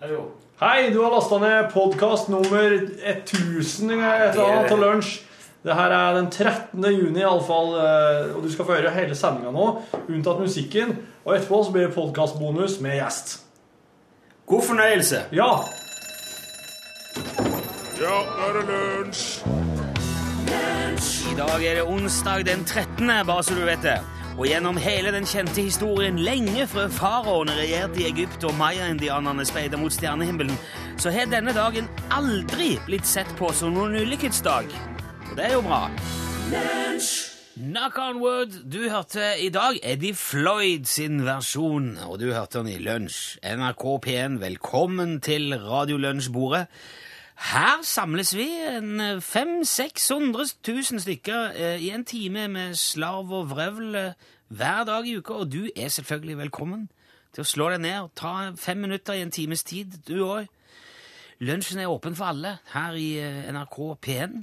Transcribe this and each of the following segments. Hallo. Hei, du har lasta ned podkast nummer 1000 eller et eller annet til lunsj. Det her er den 13. juni, iallfall. eh, Og du skal få høre hele sendinga nå, unntatt musikken. Og etterpå så blir det podkastbonus med gjest. God fornøyelse. Ja. Ja, nå er det lunsj! I dag er det onsdag den 13., bare så du vet det. Og gjennom hele den kjente historien, lenge før faraoene regjerte i Egypt og maya-indianerne speidet mot stjernehimmelen, så har denne dagen aldri blitt sett på som noen ulykkesdag. Og det er jo bra. Knock on wood, du hørte i dag Eddie Floyd sin versjon, og du hørte den i lunsj. NRK P1, velkommen til Radiolunsjbordet. Her samles vi, eh, 500-600 000 stykker, eh, i en time med slarv og vrøvl eh, hver dag i uka, og du er selvfølgelig velkommen til å slå deg ned og ta fem minutter i en times tid, du òg. Lunsjen er åpen for alle her i eh, NRK P1.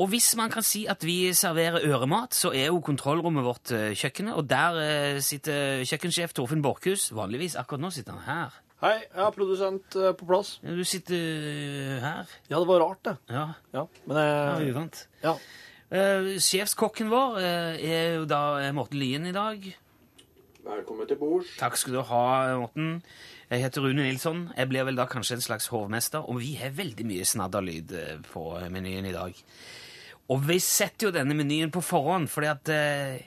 Og hvis man kan si at vi serverer øremat, så er jo kontrollrommet vårt eh, kjøkkenet, og der eh, sitter kjøkkensjef Torfinn Borchhus. Vanligvis akkurat nå sitter han her. Hei, jeg er produsent eh, på plass. Ja, Du sitter eh, her. Ja, det var rart, det. Ja, Ja, men det jeg er uvant. Ja. Eh, sjefskokken vår eh, er jo da eh, Morten Lien i dag. Velkommen til bords. Takk skal du ha, eh, Morten. Jeg heter Rune Nilsson. Jeg blir vel da kanskje en slags hovmester, og vi har veldig mye snadderlyd eh, på menyen i dag. Og vi setter jo denne menyen på forhånd, fordi at eh,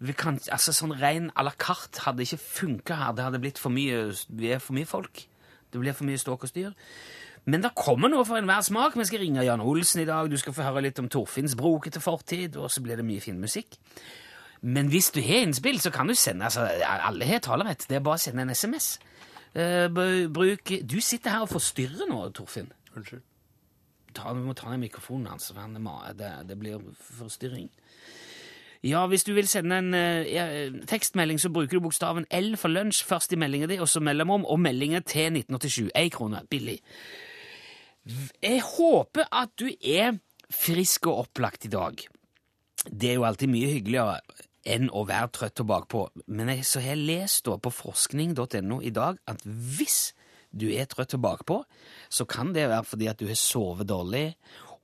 vi kan, altså Sånn ren à la carte hadde ikke funka her. Det hadde blitt for mye, vi er for mye folk. Det blir for mye ståk og styr. Men det kommer noe for enhver smak. Vi skal ringe Jan Olsen i dag. Du skal få høre litt om Torfinns brokete fortid, og så blir det mye fin musikk. Men hvis du har innspill, så kan du sende altså, Alle har talerett. Det er bare å sende en SMS. Eh, br- bruk Du sitter her og forstyrrer nå, Torfinn. Unnskyld. Ta, vi må ta ned mikrofonen hans, for han er ma- det, det blir forstyrring. Ja, hvis du vil sende en eh, eh, tekstmelding, så bruker du bokstaven L for lunsj først i meldinga di, og så mellomrom, og meldinga til 1987. Én krone. Billig. Jeg håper at du er frisk og opplagt i dag. Det er jo alltid mye hyggeligere enn å være trøtt og bakpå. Men jeg, så har jeg lest da på forskning.no i dag at hvis du er trøtt og bakpå, så kan det være fordi at du har sovet dårlig.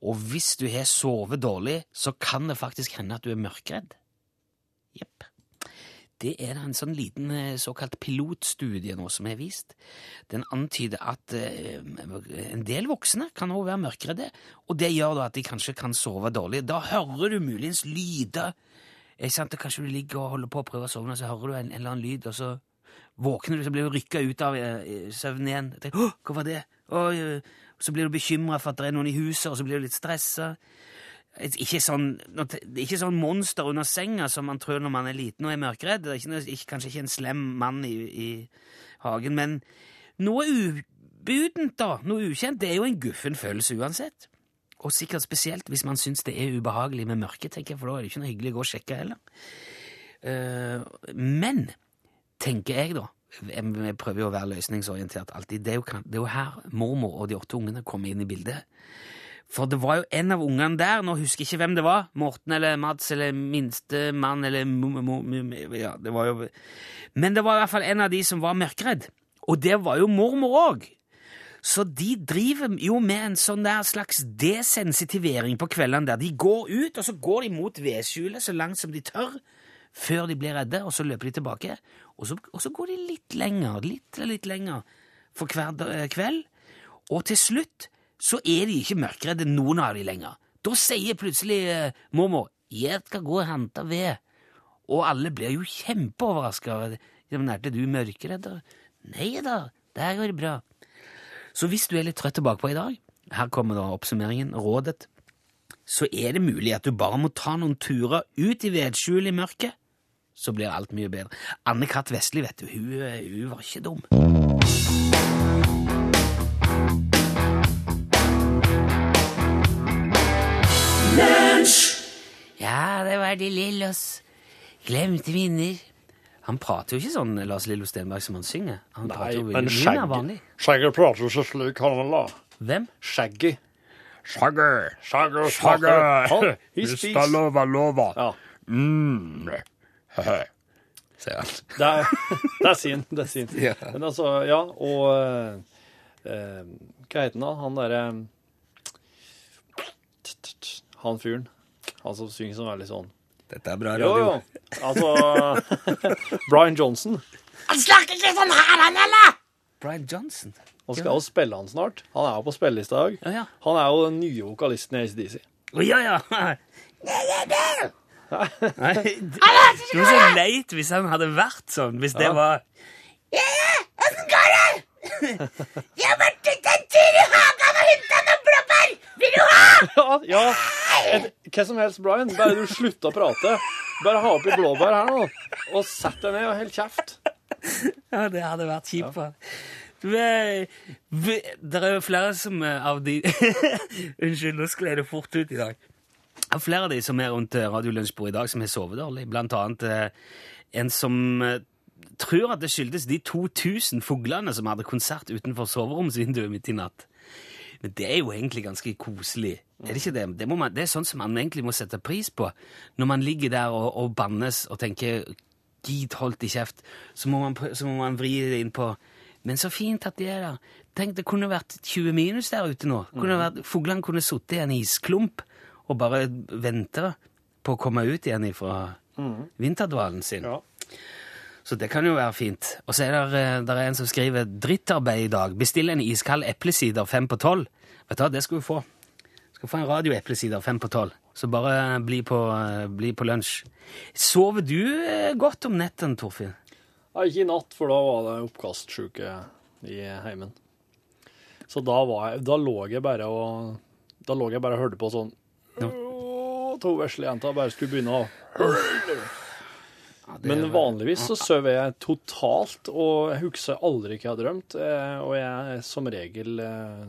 Og hvis du har sovet dårlig, så kan det faktisk hende at du er mørkredd. Jepp. Det er da en sånn liten eh, såkalt pilotstudie nå som er vist. Den antyder at eh, en del voksne kan også være mørkredde, og det gjør da at de kanskje kan sove dårlig. Da hører du muligens lyder. Ikke sant? Og Kanskje du ligger og holder på å prøve å sovne, og så hører du en, en eller annen lyd, og så våkner du, så blir du rykka ut av eh, søvnen igjen. Jeg tenker, Åh, hva var det? Oi, eh, så blir du bekymra for at det er noen i huset, og så blir du litt stressa. Ikke sånn, nå te- det er ikke sånn monster under senga som man tror når man er liten og er mørkredd. Det er ikke, noe- ikke, kanskje ikke en slem mann i, i hagen, men noe ubudent, da. Noe ukjent. Det er jo en guffen følelse uansett. Og sikkert spesielt hvis man syns det er ubehagelig med mørke, tenker jeg, for da er det ikke noe hyggelig å gå og sjekke heller. Eh, men tenker jeg, da jeg jeg prøver jo å være løsningsorientert alltid. Det er jo, kan- det er jo her mormor og de åtte ungene kommer inn i bildet. For det var jo en av ungene der, nå husker jeg ikke hvem det var, Morten eller Mads eller minstemann eller mo- mo- mo- ja, det var jo... Men det var i hvert fall en av de som var mørkredd, og det var jo mormor òg. Så de driver jo med en sånn der slags desensitivering på kveldene der. De går ut, og så går de mot vedskjulet så langt som de tør, før de blir redde, og så løper de tilbake. Og så, og så går de litt lenger, litt og litt lenger for hver da- eh, kveld. Og til slutt så er de ikke mørkredde, noen av de lenger. Da sier plutselig eh, mormor 'Jeg skal gå og hente ved'. Og alle blir jo kjempeoverraska. 'Men er det du mørkredd?' da?» 'Nei da, der går det bra'. Så hvis du er litt trøtt bakpå i dag, her kommer da oppsummeringen, rådet, så er det mulig at du bare må ta noen turer ut i vedskjulet i mørket, så blir alt mye bedre. Anne-Kat. Vestli, vet du, hun, eh, hun var ikke dum. Ja, det var de Lillos. Glemte minner. Han prater jo ikke sånn, Lars Lillo Stenberg, som han synger. Han prater jo men veldig- Hun er vanlig. skjegget Skjegget prater jo så slik han la. Hvem? Skjegget. Sagger, Skjegget sagger. Han, he Hvis speaks. det lover, lover. Ja. Mm. Sier han. Det er, det er sin. Det er sin. Men altså, ja, og eh, eh, Hva heter han da? Han derre Han fyren. Han som synger som er litt sånn Dette er bra Jo, radio. jo. Altså Brian Johnson. Han snakker ikke sånn her, han, eller? Brian Johnson. Nå skal jo spille han snart. Han er jo på spillelista i Ja, dag. ja. Han er jo den nye vokalisten i ACDC. Å, ja, ja. Nei, det det var så leit hvis han hadde vært sånn. Hvis det var Ja, ja, åssen går det? Jeg har vært ute en tur i hagen og henta noen blåbær. Vil du ha? Ja, ja. Et, hva som helst, Brian. Bare du slutter å prate. Bare ha oppi blåbær her nå, og sett deg ned og hold kjeft. Ja, det hadde vært kjipt. Ja. eh, Det er jo flere som eh, av de Unnskyld, nå skled det fort ut i dag. Det er flere av de som er rundt eh, Radio Lunsjbordet i dag, som har sovet dårlig. Blant annet eh, en som eh, tror at det skyldes de 2000 fuglene som hadde konsert utenfor soveromsvinduet mitt i natt. Men det er jo egentlig ganske koselig. Er det ikke det? Det, må man, det er sånn som man egentlig må sette pris på. Når man ligger der og, og bannes og tenker Gid, holdt i kjeft. Så må, man, prø- så må man vri det inn på Men så fint at de er der. Tenk, det kunne vært 20 minus der ute nå. Kunne vært, fuglene kunne sittet i en isklump og bare vente på å komme ut igjen fra vinterdvalen sin. Ja. Så det kan jo være fint. Og så er det, der er en som skriver 'drittarbeid i dag'. Bestill en iskald eplesider fem på tolv. Vet du hva, det skal du få. Du skal få en radioeplesider fem på tolv. Så bare bli på, eh, bli på lunsj. Sover du eh, godt om netten, Torfinn? Ja, ikke i natt, for da var det oppkastsjuke i heimen. Så da, var jeg, da lå jeg bare og Da lå jeg bare og hørte på sånn «Åh», To vesle jenter bare skulle begynne å Men vanligvis så sover jeg totalt, og jeg husker aldri hva jeg har drømt. eh, Og jeg er som regel eh,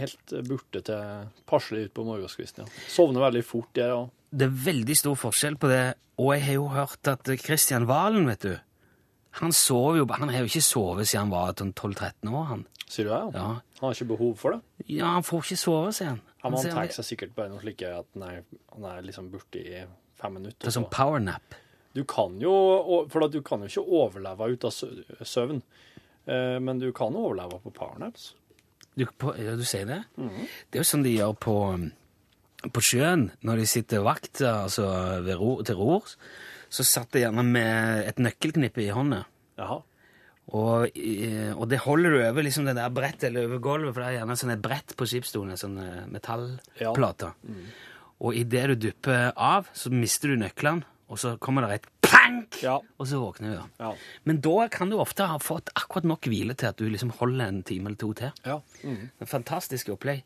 helt borte til passelig utpå morgenskvisten. Ja. Sovner veldig fort, jeg òg. Det er veldig stor forskjell på det, og jeg har jo hørt at Kristian Valen, vet du Han sover jo Han har jo ikke sovet siden han var sånn 12-13 år, han. Sier du det? Ja. Ja. Han har ikke behov for det? ja, han får ikke sove, sier han. Ja, men sier han han- tar seg sikkert bare noe slike at han er, han er liksom borte i fem Det minutter. er sånn og så- powernap. Du kan jo, og- for at du kan jo ikke overleve ut av sø- søvn, Eh, men du kan overleve på powernaps. Du, på, ja, du sier det? Mhm. Det er jo sånn de gjør på, på sjøen, når de sitter vakt altså ved ro, til ror. Så satt de gjerne med et nøkkelknippe i hånda. Jaha. Og, i- og det holder du over liksom det der brettet eller over gulvet, for det er gjerne sånn et brett på skipsstolen, sånn eh, metallplater. Mhm. Og idet du dupper av, så mister du nøklene, og så kommer det et pank! Ja. Og så våkner du. da. Ja. Men da kan du ofte ha fått akkurat nok hvile til at du liksom holder en time eller to til. Ja. Det er Fantastisk opplegg.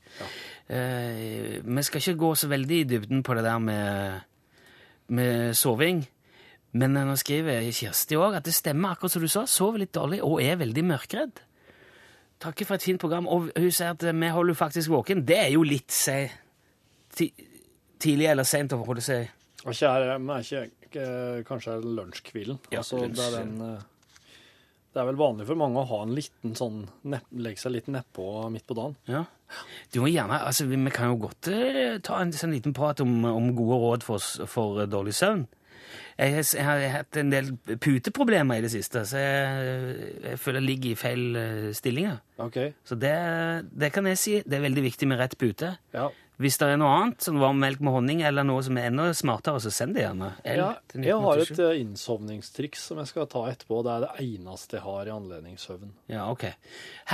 Eh, vi skal ikke gå så veldig i dybden på det der med, med soving. Men eh, nå skriver Kirsti òg at det stemmer akkurat som du sa. Sover litt dårlig og er veldig mørkredd. Takker for et fint program. Og hun sier at eh, vi holder jo faktisk våken. Det er jo litt si, ti, tidlig eller seint å holde seg Og ikke er, men er ikke, ikke- kanskje er lunsjkvilen. Ja, altså, det, lunsj. er den, eh, det er vel vanlig for mange å ha en liten sånn, nepp, legge seg litt nedpå midt på dagen. Ja. Du må gjerne, altså Vi vi kan jo godt eh, ta en sånn liten prat om, om gode råd for, s- for eh, dårlig søvn. Jeg, har s- jeg har hatt en del puteproblemer i det siste, så jeg, jeg føler jeg ligger i feil eh, stillinger. Ok, Så det, det kan jeg si. Det er veldig viktig med rett pute. ja. Hvis det er noe annet, som varm melk med honning, eller noe som er enda smartere, så send det gjerne. L Ja, til jeg har et 1987. eh, innsovningstriks som jeg skal ta etterpå. Det er det eneste jeg har i anledning søvn. Ja, ok.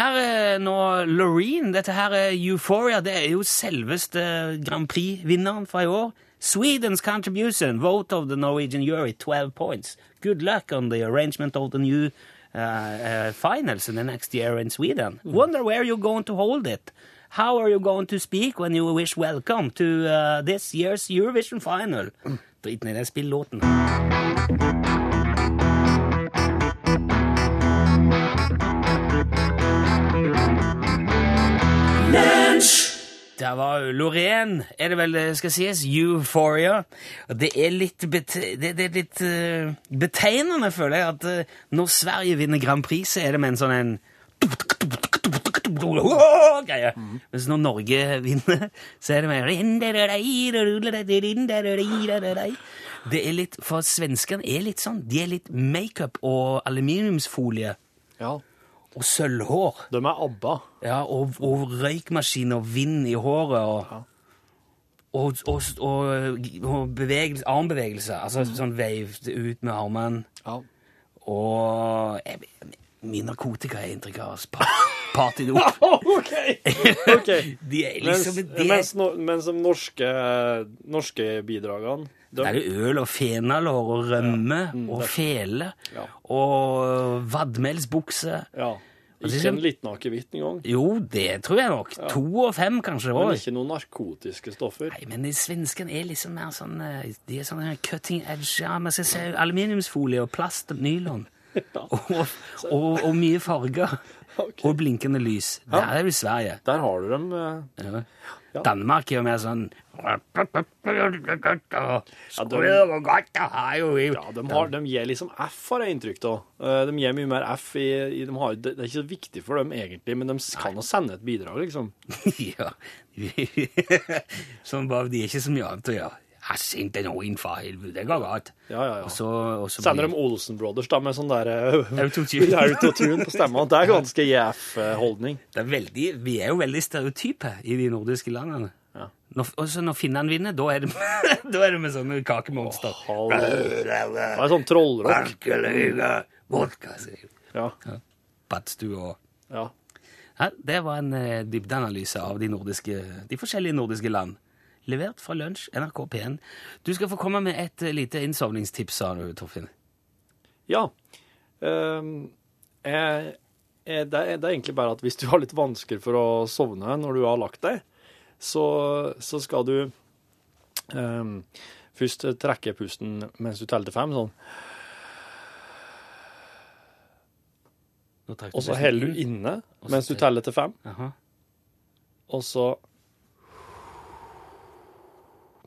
Her er nå Loreen. Dette her er Euphoria. Det er jo selveste Grand Prix-vinneren fra i år. Sweden's contribution, vote of the Norwegian jury, 12 points. Good luck on the arrangement of the new uh, uh, finals in the next year in Sweden. Wonder where you're going to hold it. How are you going to speak when you wish welcome to uh, this year's Eurovision final? Drit ned i den spillåten. Der var jo Loreen, er det vel det skal sies. Euphoria. Og Det er litt, bete det, det er litt eh, betegnende, føler jeg, at eh, når Sverige vinner Grand Prix, så er det med en sånn en greie. Mens når Norge vinner, så er det med Det er litt For svenskene er litt sånn. De er litt makeup og aluminiumsfolie. Ja. Og sølvhår. De er ABBA. Ja, og, og røykmaskin og vind i håret og og, og, og, og bevegelse, armbevegelse. Altså Mm. sånn veivt ut med armene. Ja. Og jeg, min narkotika er inntrykk av oss. Pa- Partydop. OK! ok. De er Mens, liksom de er, mens, no- mens de norske, norske bidragene de, Det er jo øl og fenalår og rømme og fele Mm, Ja. og vadmelsbukse. ja, Ikke liksom- en liten akevitt engang. Jo, det tror jeg nok. To og fem, kanskje. Men Også. ikke noen narkotiske stoffer. Nei, men de svenskene er liksom mer sånn eh, De er sånn her cutting edge. Ja, men så ser jeg aluminiumsfolie og plast og nylon. Og, og, og mye farger. Ok. Og blinkende lys. Der er jo Sverige. Der har du dem. eh, Ja. Danmark er jo mer sånn Ja, de, har, de gir liksom F, har jeg inntrykk av. Eh, De gir mye mer F i, i de har, Det det er ikke så viktig for dem egentlig, men de s- kan jo sende et bidrag, liksom. Ja. Som bare De er ikke så mye annet å gjøre. Æsj, ikke noe inn, for helvete. Det går godt. Ja, ja, Og ja. så, og så Sender blir- de Olsen Brothers da, med sånn der eh, Autotune. autotune på stemma. Det er ganske JF-holdning. det er veldig, Vi er jo veldig stereotype i de nordiske landene. Ja. Når, og så når finnene vinner, da er det, da er det med sånne kakemonster. Det er sånn trollrock. Barkelyga, vodka, sier de. Ja, Badstue og ja. Ja, det var en eh, dybdeanalyse av de, nordiske, de forskjellige nordiske land. Levert fra lunsj, NRK P1. Du skal få komme med et eh, lite innsovningstips, sa du, Torfinn. Ja. Ehm, eh, eh, det, er, det er egentlig bare at hvis du har litt vansker for å sovne når du har lagt deg, så, så skal du ehm, først trekke pusten mens du teller til fem, sånn, Nå trakk og så pusten heller du inne mens du teller til fem, Jaha. og så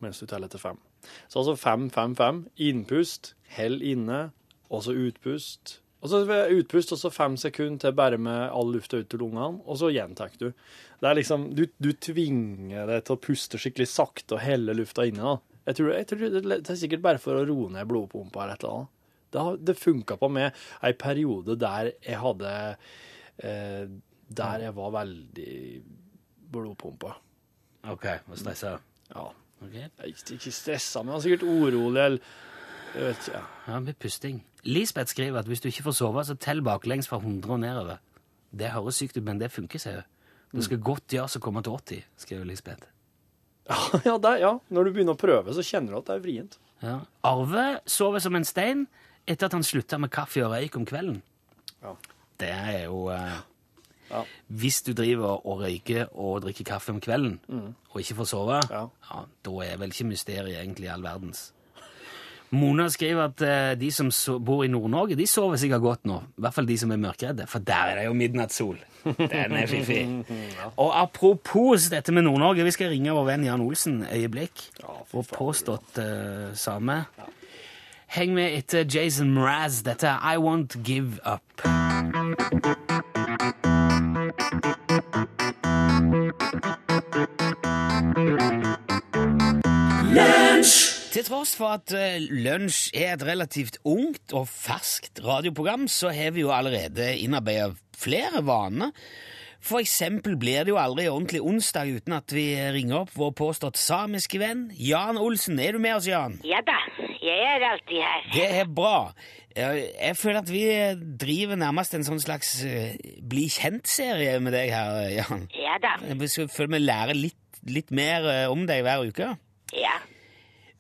mens du teller til fem. Så altså fem, fem, fem. Innpust, hell inne, og så utpust. Og så ved utpust, og så fem sekunder til bare med all lufta ut til lungene, og så gjentar du. Det er liksom, du, du tvinger deg til å puste skikkelig sakte og helle lufta inne. da. Jeg tror, jeg tror det det er sikkert bare for å roe ned blodpumpa eller et eller annet. Det, har- det funka på meg ei periode der jeg hadde eh, Der jeg var veldig blodpumpa. OK, var stressa. Ja. Ok. Jeg er ikke- ikke stressa, men jeg er sikkert urolig eller Jeg vet ikke. ja. Ja, med pusting. Lisbeth skriver at hvis du ikke får sove, så tell baklengs fra 100 og nedover. Det høres sykt ut, men det funker, sier hun. Det skal godt gjøres å komme til 80, skriver Lisbeth. Ja, det, ja, når du begynner å prøve, så kjenner du at det er vrient. Ja. Arve sover som en stein etter at han slutta med kaffe og røyk om kvelden. Ja. Det er jo eh, Ja. Hvis du driver og røyker og drikker kaffe om kvelden og ikke får sove, Mm. Ja. da er vel ikke mysteriet egentlig all verdens. Mona skriver at eh, de som so bor i Nord-Norge, de sover sikkert godt nå. I hvert fall de som er mørkredde, for der er det jo midnattssol. Den er fiffig. Og apropos dette med Nord-Norge, vi skal ringe vår venn Jan Olsen øyeblikk. og påstått eh, samme. Heng med etter Jason Mraz. Dette er I Won't Give Up. Til tross for at eh, Lunsj er et relativt ungt og ferskt radioprogram, så har vi jo allerede innarbeida flere vaner. For eksempel blir det jo aldri ordentlig onsdag uten at vi ringer opp vår påstått samiske venn Jan Olsen. Er du med oss, Jan? Ja da, jeg er alltid her. Det er bra. Jeg jeg føler at vi driver nærmest en sånn slags eh, bli kjent-serie med deg her, Jan. Ja da, Jeg føler vi lærer litt, litt mer eh, om deg hver uke. ja.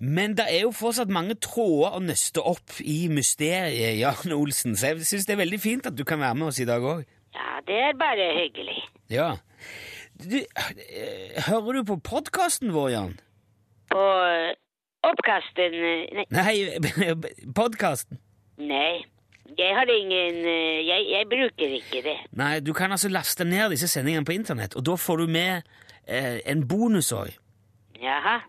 Men det er jo fortsatt mange tråder å nøste opp i mysteriet, Jan Olsen, så jeg syns det er veldig fint at du kan være med oss i dag òg. Ja, det er bare hyggelig. Ja. Du, eh, hører du på podkasten vår, Jan? På eh, oppkasten eh, Nei, Nei, podkasten. nei. jeg har ingen eh, jeg, jeg bruker ikke det. Nei, du kan altså laste ned disse sendingene på internett, og da får du med eh, en bonus òg. Jaha.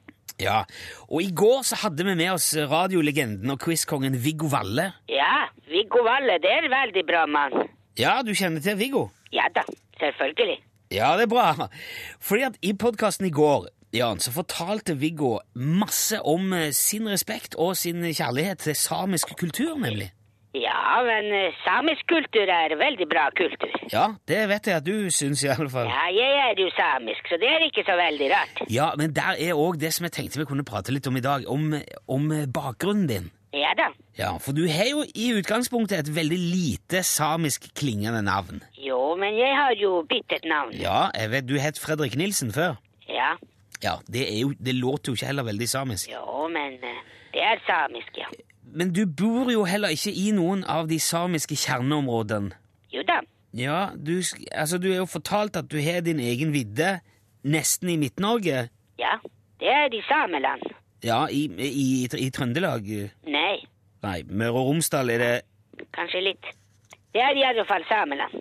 Ja. Og i går så hadde vi med oss radiolegenden og quizkongen Viggo Valle. Ja, Viggo Valle, det er en veldig bra mann. Ja, du kjenner til Viggo? Ja da, selvfølgelig. Ja, det er bra. Fordi at i podkasten i går Jan, så fortalte Viggo masse om eh, sin respekt og sin kjærlighet til samisk kultur, nemlig. Ja, men eh, samisk kultur er veldig bra kultur. Ja, det vet jeg at du syns, i alle fall. Ja, jeg er jo samisk, så det er ikke så veldig rart. Ja, men der er òg det som jeg tenkte vi kunne prate litt om i dag, om, om eh, bakgrunnen din. Ja da. Ja, For du har jo i utgangspunktet et veldig lite samisk klingende navn. Jo, men jeg har jo byttet navn. Ja, jeg vet du het Fredrik Nilsen før. Ja. Ja, Det, er jo, det låter jo ikke heller veldig samisk. Jo, men eh, det er samisk, ja. Men du bor jo heller ikke i noen av de samiske kjerneområdene. Jo da. Ja, du, sk- altså, du er jo fortalt at du har din egen vidde nesten i Midt-Norge. Ja. Det er i Sameland. Ja, i, i, i, Tr- i Trøndelag. Nei, Nei, Møre og Romsdal er det kanskje litt. Det er i alle fall Sameland.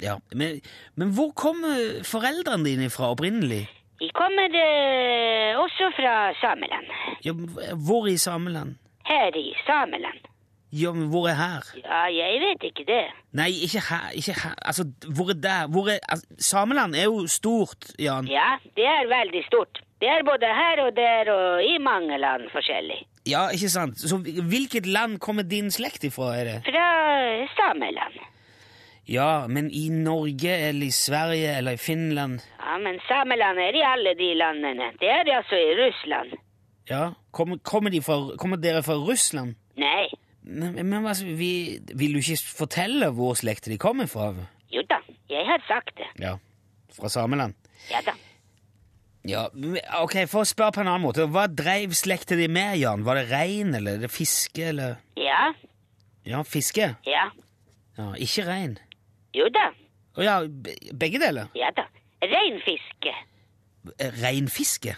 Ja, men, men hvor kommer foreldrene dine fra opprinnelig? De kommer eh, også fra Sameland. Ja, men hvor i Sameland? Her i Sameland. Ja, men hvor er her? Ja, jeg vet ikke det. Nei, ikke her, ikke her. Altså, hvor er der? Hvor er altså, Sameland er jo stort, Jan. Ja, det er veldig stort. Det er både her og der og i mange land forskjellig. Ja, ikke sant? Så hvilket land kommer din slekt ifra, er det? Fra Sameland. Ja, men i Norge eller i Sverige eller i Finland? Ja, men Sameland er i alle de landene. Det er altså i Russland. Ja, kommer, kommer, de fra, kommer dere fra Russland? Nei, Men, men altså, vi, vil du ikke fortelle hvor slekt de kommer fra? jo da, jeg har sagt det. Ja, fra Sameland. Ja da. Ja, men- ok, For å spørre på en annen måte, hva dreiv slekta di med, Jan? Var det rein, eller er det fiske, eller Ja, Ja, fiske. ja, Ja, Ikke rein. jo da, Å ja, be- begge deler. ja da. Reinfiske. Eh, Reinfiske?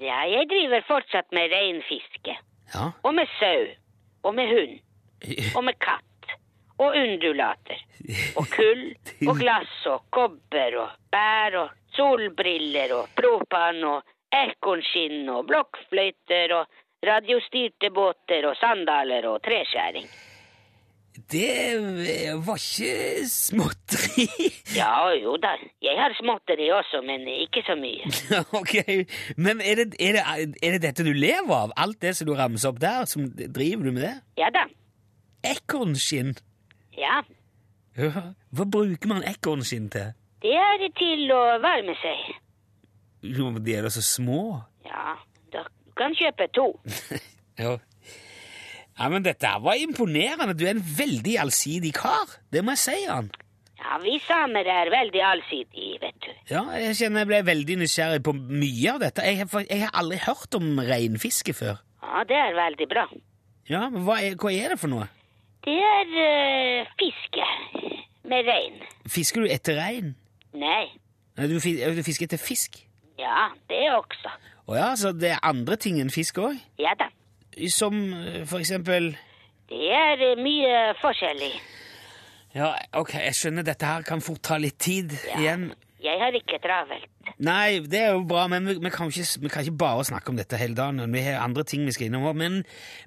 Ja, jeg driver fortsatt med reinfiske. Ja. Og med sau. Og med hund. Og med katt. Og undulater. Og kull. Og glass og kobber og bær og solbriller og propan og ekornskinn og blokkfløyter og radiostyrte båter og sandaler og treskjæring. Det eh, var ikke småtteri. Ja, jo da. Jeg har småtteri også, men ikke så mye. ok, men er det, er, det, er det dette du lever av? Alt det som du ramser opp der, som driver du med det? Ja da. Ekornskinn? Ja. Ja. Hva bruker man ekornskinn til? Det er til å varme seg. Jo, men de er da så små. Ja, da du kan kjøpe to. Ja. ja, men dette her var imponerende. Du er en veldig allsidig kar. Det må jeg si, Jan. Ja, vi samer er veldig allsidige, vet du. Ja, jeg kjenner jeg ble veldig nysgjerrig på mye av dette. Jeg har, fa- jeg har aldri hørt om reinfiske før. Ja, det er veldig bra. Ja, men hva er, hva er det for noe? Det er eh, fiske med rein. Fisker du etter rein? Nei, Nei, du, fi- du fisker etter fisk? ja, det også. Å ja, så det er andre ting enn fisk òg? Ja da. Som eh, for eksempel Det er eh, mye forskjellig. Ja, ok, jeg skjønner dette her kan fort ta litt tid igjen. Jeg har ikke travelt. Nei, det er jo bra, men vi, vi, kan, jo ikke, vi kan ikke bare snakke om dette hele dagen. Vi har andre ting vi skal innom også, Men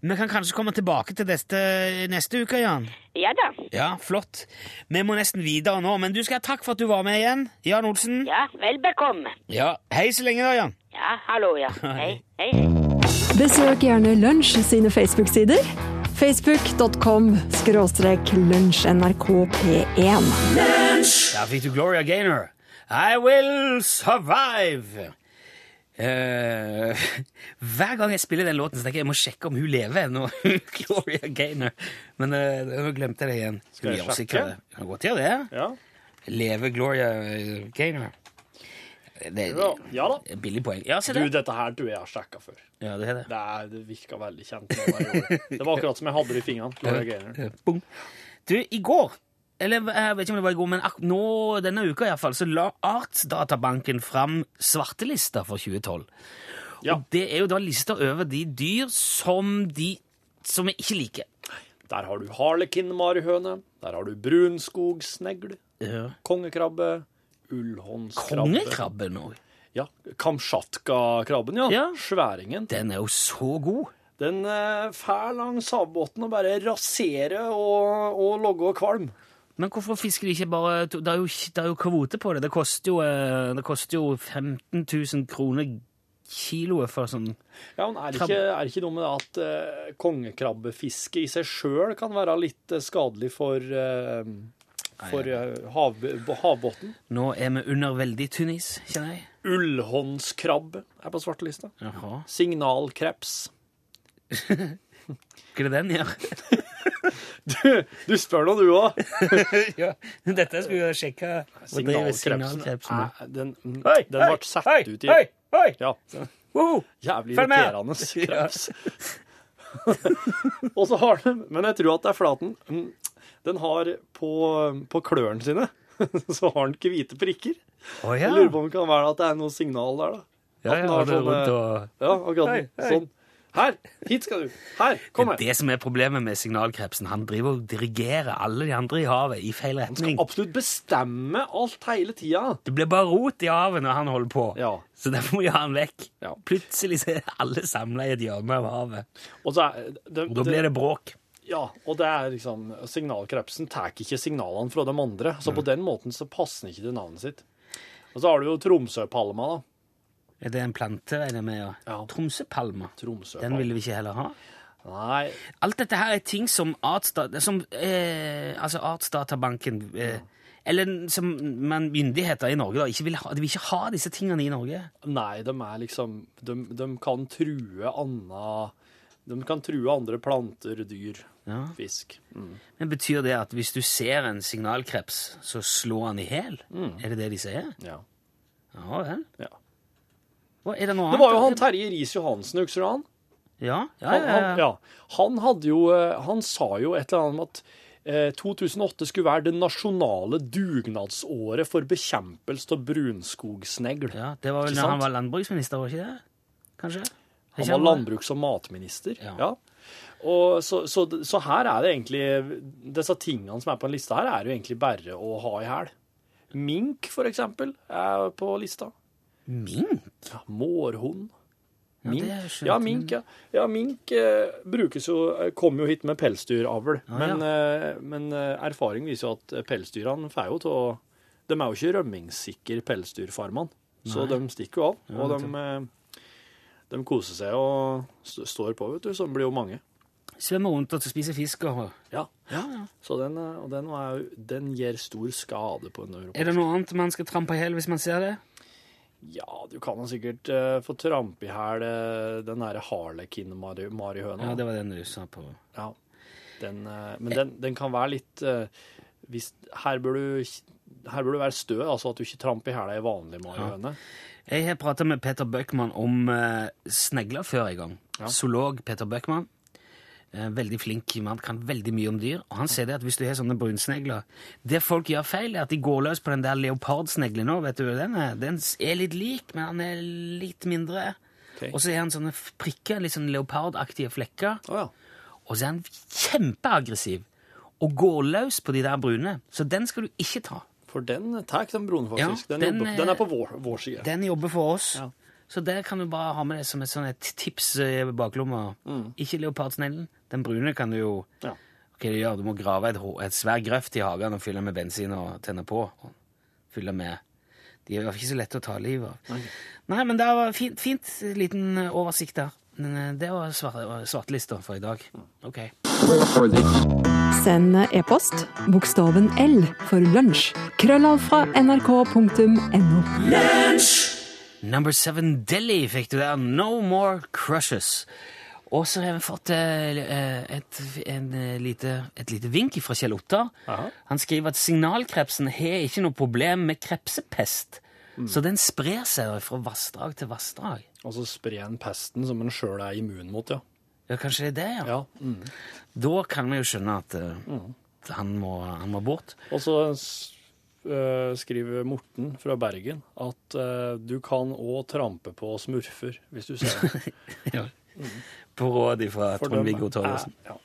vi kan kanskje komme tilbake til dette neste uke, Jan. Ja da. Ja, flott. Vi må nesten videre nå, men du skal ha takk for at du var med igjen, Jan Olsen. Ja, vel bekomme. Ja, Hei så lenge, da, Jan. Ja, hallo, ja. Hei, hei. Besøk gjerne Lunsj sine Facebook-sider. Facebook.com skråstrek lunsjnrkp1. Der fikk du Gloria Gaynor. I will survive. Eh, hver gang jeg spiller den låten, så tenker jeg jeg må sjekke om hun lever ennå. Gloria Gaynor. Men eh, nå glemte jeg det igjen. Skal jeg vi sjekke? sjekke? Kan godt gjøre det. Ja. Leve Gloria eh, Gaynor. Det Ja, ja da. er billig poeng. Ja, se Du, det. dette her tror jeg jeg har sjekka før. Ja, det er det. Det, er- det virka veldig kjent. Det var, det var akkurat som jeg hadde det i fingrene. Gloria Gaynor. Eh, Bong. Du, i går eller eh, jeg vet ikke om det var i går, men ak nå, denne uka i hvert fall, så la Artsdatabanken fram svartelista for 2012. Ja. Og det er jo da lister over de dyr som de som vi ikke liker. Der har du harlekinmarihøne. Der har du brunskogsnegle. Kongekrabbe. Ullhåndskrabbe. Kongekrabben òg. Ja, Kamtsjatka-krabben, ja. Ja. Sværingen. Den er jo så god. Den eh, fær langs havbunnen og bare raserer og, og logger og kvalm. Men hvorfor fisker de ikke bare to- Det er jo, ikke- det er jo kvote på det. Det koster jo, eh, det koster jo 15 000 kroner kiloet for sånn Ja, men er det Krabbe. ikke, er det ikke noe med det at eh, kongekrabbefiske i seg sjøl kan være litt eh, skadelig for, eh, for eh, hav, havbunnen? Nå er vi under veldig tynn is, kjenner jeg. Ullhåndskrabbe er på svartelista. Jaha. Signalkreps. Hva er det den gjør? Du spør nå, du òg. ja, dette skulle jeg sjekke. Hva driver Signalkrepsen signalkrepsen med? er- Den, den Hei, hei, ble satt hei, ut i Hei, hei! Ja. Woho! Jævlig Følg med! irriterende kreps. og så har den Men jeg tror at det er flaten. mm, Den har på, på klørne sine så har den ikke hvite prikker. Å ja. Jeg lurer på om det kan være at det er noe signal der, da. Ja, at den ja, det har er sånn, rundt eh, og... Ja, akkurat Hei, hei. sånn. Her! Hit skal du! Her! Kom Det her! er det som er problemet med signalkrepsen. Han driver og dirigerer alle de andre i havet i feil retning. Absolutt bestemme alt hele tida. Det blir bare rot i havet når han holder på. Ja. Så derfor må vi ha han vekk. Ja. Plutselig så er alle samla i et hjørne av havet. Og så er det, Da blir det bråk. Ja, og det er liksom Signalkrepsen tar ikke signalene fra de andre, så på den måten så passer den ikke til navnet sitt. Og så har du jo Tromsøpalma, da. Er det en plante, regner jeg med? Ja. Ja. Tromsøpalma. Den Tromsøpalma. ville vi ikke heller ha. Nei, Alt dette her er ting som Artsdata, som, eh, altså Artsdatabanken eh, Eller som man, myndigheter i Norge da, ikke vil ha. De vil ikke ha disse tingene i Norge. nei, de er liksom De, de kan true anna De kan true andre planter, dyr, Ja. fisk. Men Betyr det at hvis du ser en signalkreps, så slå han i hæl? Er det det de sier? Ja. Ja vel. Mm. Ja. Hva, er det noe Det var jo han annet? Terje Riis-Johansen, husker du han? Ja, ja, Han, ja, han, ja. ja. han hadde jo eh, Han sa jo et eller annet om at eh, 2008 skulle være det nasjonale dugnadsåret for bekjempelse av brunskogsnegl. ja. Det var vel Ikke da han sant? var landbruksminister, var ikke det? Kanskje? Han Ikke var landbruks- og matminister. Ja. Ja. Og så, så, så her er det egentlig Disse tingene som er på en liste her, er jo egentlig bare å ha i hæl. Mink, for eksempel, er på lista. Mink? Ja, Mårhund. Ja, Mink. det Ja, er skjønt, mink, ja. ja, mink eh, brukes jo, kom jo hit med pelsdyravl. Ah, men eh, men eh, erfaring viser jo at pelsdyrene får jo til å De er jo ikke rømmingssikre, pelsdyrfarmene. Så de stikker jo av. og de, eh, de koser seg og st står på, vet du. Så de blir jo mange. Svømmer rundt og spiser fisk og Ja. Så den, eh, og den, er, jo- den gir stor skade på en europeisk Er det noe annet man skal trampe i hæl hvis man ser det? Ja, du kan jo sikkert eh, få trampe i hæl eh, den derre harlekin-marihøna. Ja, det var den du sa på Ja. Den, eh, men den, den kan være litt eh, hvis, her, bør du, ikke- her bør du være stø, altså at du ikke tramper i hæla i vanlig marihøne. Jeg har prata med Peter Bøckmann om eh, snegler før en gang. Zoolog Peter Bøckmann. Eh, veldig flink mann, kan veldig mye om dyr. Og han sier det at hvis du har sånne brunsnegler Det folk gjør feil, er at de går løs på den der leopardsneglen nå, vet du. hva Den er, den er litt lik, men han er litt mindre. Ok. Og så har han sånne f- prikker, litt sånn leopardaktige flekker. Å ja. Og så er han kjempeaggressiv og går løs på de der brune. Så den skal du ikke ta. For den eh, tar den broen, faktisk. Ja, den, den jobber, er- den er på vår, vår side. Den jobber for oss. Ja. Så det kan du bare ha med deg som et, sånn et tips eh, i baklomma. Ikke leopardsneglen. Den brune kan du jo Ja. Hva du gjør, du må grave et, ho- et svær grøft i hagen og fylle med bensin og tenne på. Og fylle med De er jo ikke så lette å ta livet av. Nei, men det var fint, fint liten eh, oversikt der. Men eh, det var svarte- svartelista for i dag. Ok. Send e-post bokstaven L for lunsj. Krøllav fra nrk.no. Number Seven Deli fikk du der. No More Crushes. Og så har vi fått eh, eh, et, en, eh, lite, et lite vink fra Kjell Ottar. Han skriver at signalkrepsen har ikke noe problem med krepsepest. Så den sprer seg fra vassdrag til vassdrag. Og så sprer en pesten som en sjøl er immun mot, ja. Ja, kanskje det er det, ja. ja. Mm. Da kan vi jo skjønne at eh, han, må, han må bort. Og så s- eh, skriver Morten fra Bergen at eh, du kan òg trampe på smurfer, hvis du ser det. På råd fra For dem Trond-Viggo Torgersen. er- Ja,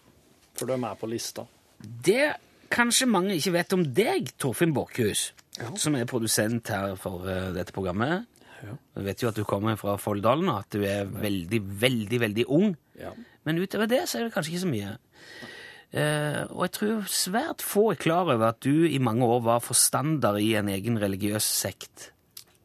for de er på lista. Det kanskje mange ikke vet om deg, Torfinn Borchhus, som er produsent her for eh, dette programmet. Vi vet jo at du kommer fra Folldalen, og at du er veldig, veldig, veldig ung. Ja. Men utover det så er det kanskje ikke så mye. Eh, og jeg tror svært få er klar over at du i mange år var forstander i en egen religiøs sekt.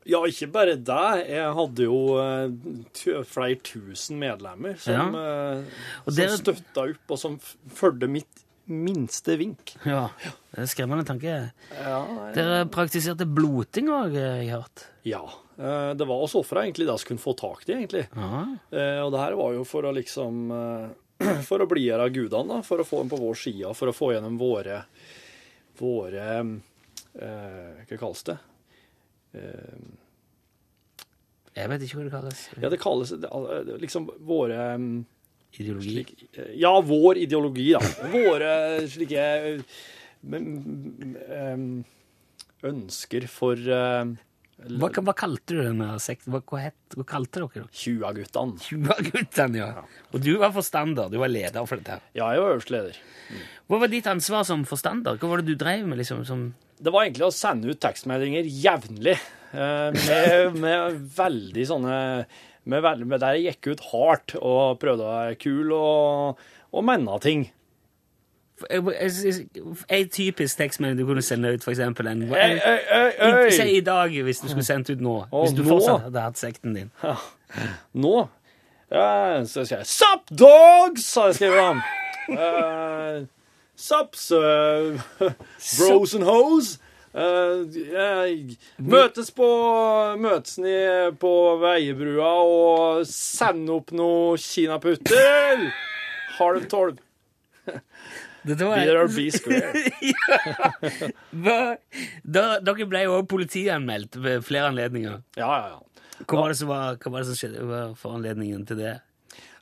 Ja, ikke bare det. Jeg hadde jo eh, tu- flere tusen medlemmer som, eh, Og som dere- støtta opp, og som f- fulgte mitt minste vink. Ja, det er en skremmende tanke. Ja, nei. Dere praktiserte bloting òg, har jeg hørt. ja. Eh, Det var oss ofra egentlig det vi kunne få tak i, egentlig. Ja. Eh, Og det her var jo for å liksom eh, For å blidgjøre gudene, da. For å få dem på vår side, for å få gjennom våre Våre eh, Hva kalles det? Eh, Jeg vet ikke hva det kalles. Ja, det kalles det, eh, liksom våre eh, Ideologi. slik, eh, Ja, vår ideologi, da. Våre slike eh, m- m- em, ønsker for eh, Hva, hva kalte du denne sekten? Hva, hva, het, hva kalte dere dere? 20-guttene. Tjuaguttene, ja. Og du var forstander. Du var leder for dette. her. Ja, jeg var øverste leder. Hva var ditt ansvar som forstander? Hva var det du drev med? liksom? Som Det var egentlig å sende ut tekstmeldinger jevnlig, eh, med, med veldig sånne med, veld- med Der jeg gikk ut hardt og prøvde å være kul og, og menne ting. En typisk tekstmelding du kunne sende ut, for eksempel en Øy, øy, øy, I- Si øy! i dag, hvis du skulle sendt ut nå. Å, Hvis du nå? fortsatt hadde hatt sekten din. Nå eh, så skrev jeg 'Sup, dogs!' har jeg skrevet om. Eh, Sups, eh, bros and hoes. Eh, jeg- møtes på møtes i, på Veiebrua og sende opp noe kinaputter! Halv tolv. Dette var- Be there or be square. Hva? Da, dere ble jo også politianmeldt ved flere anledninger. Ja, ja, ja. Hva var det som, var, hva var det som skjedde hva var foranledningen til det?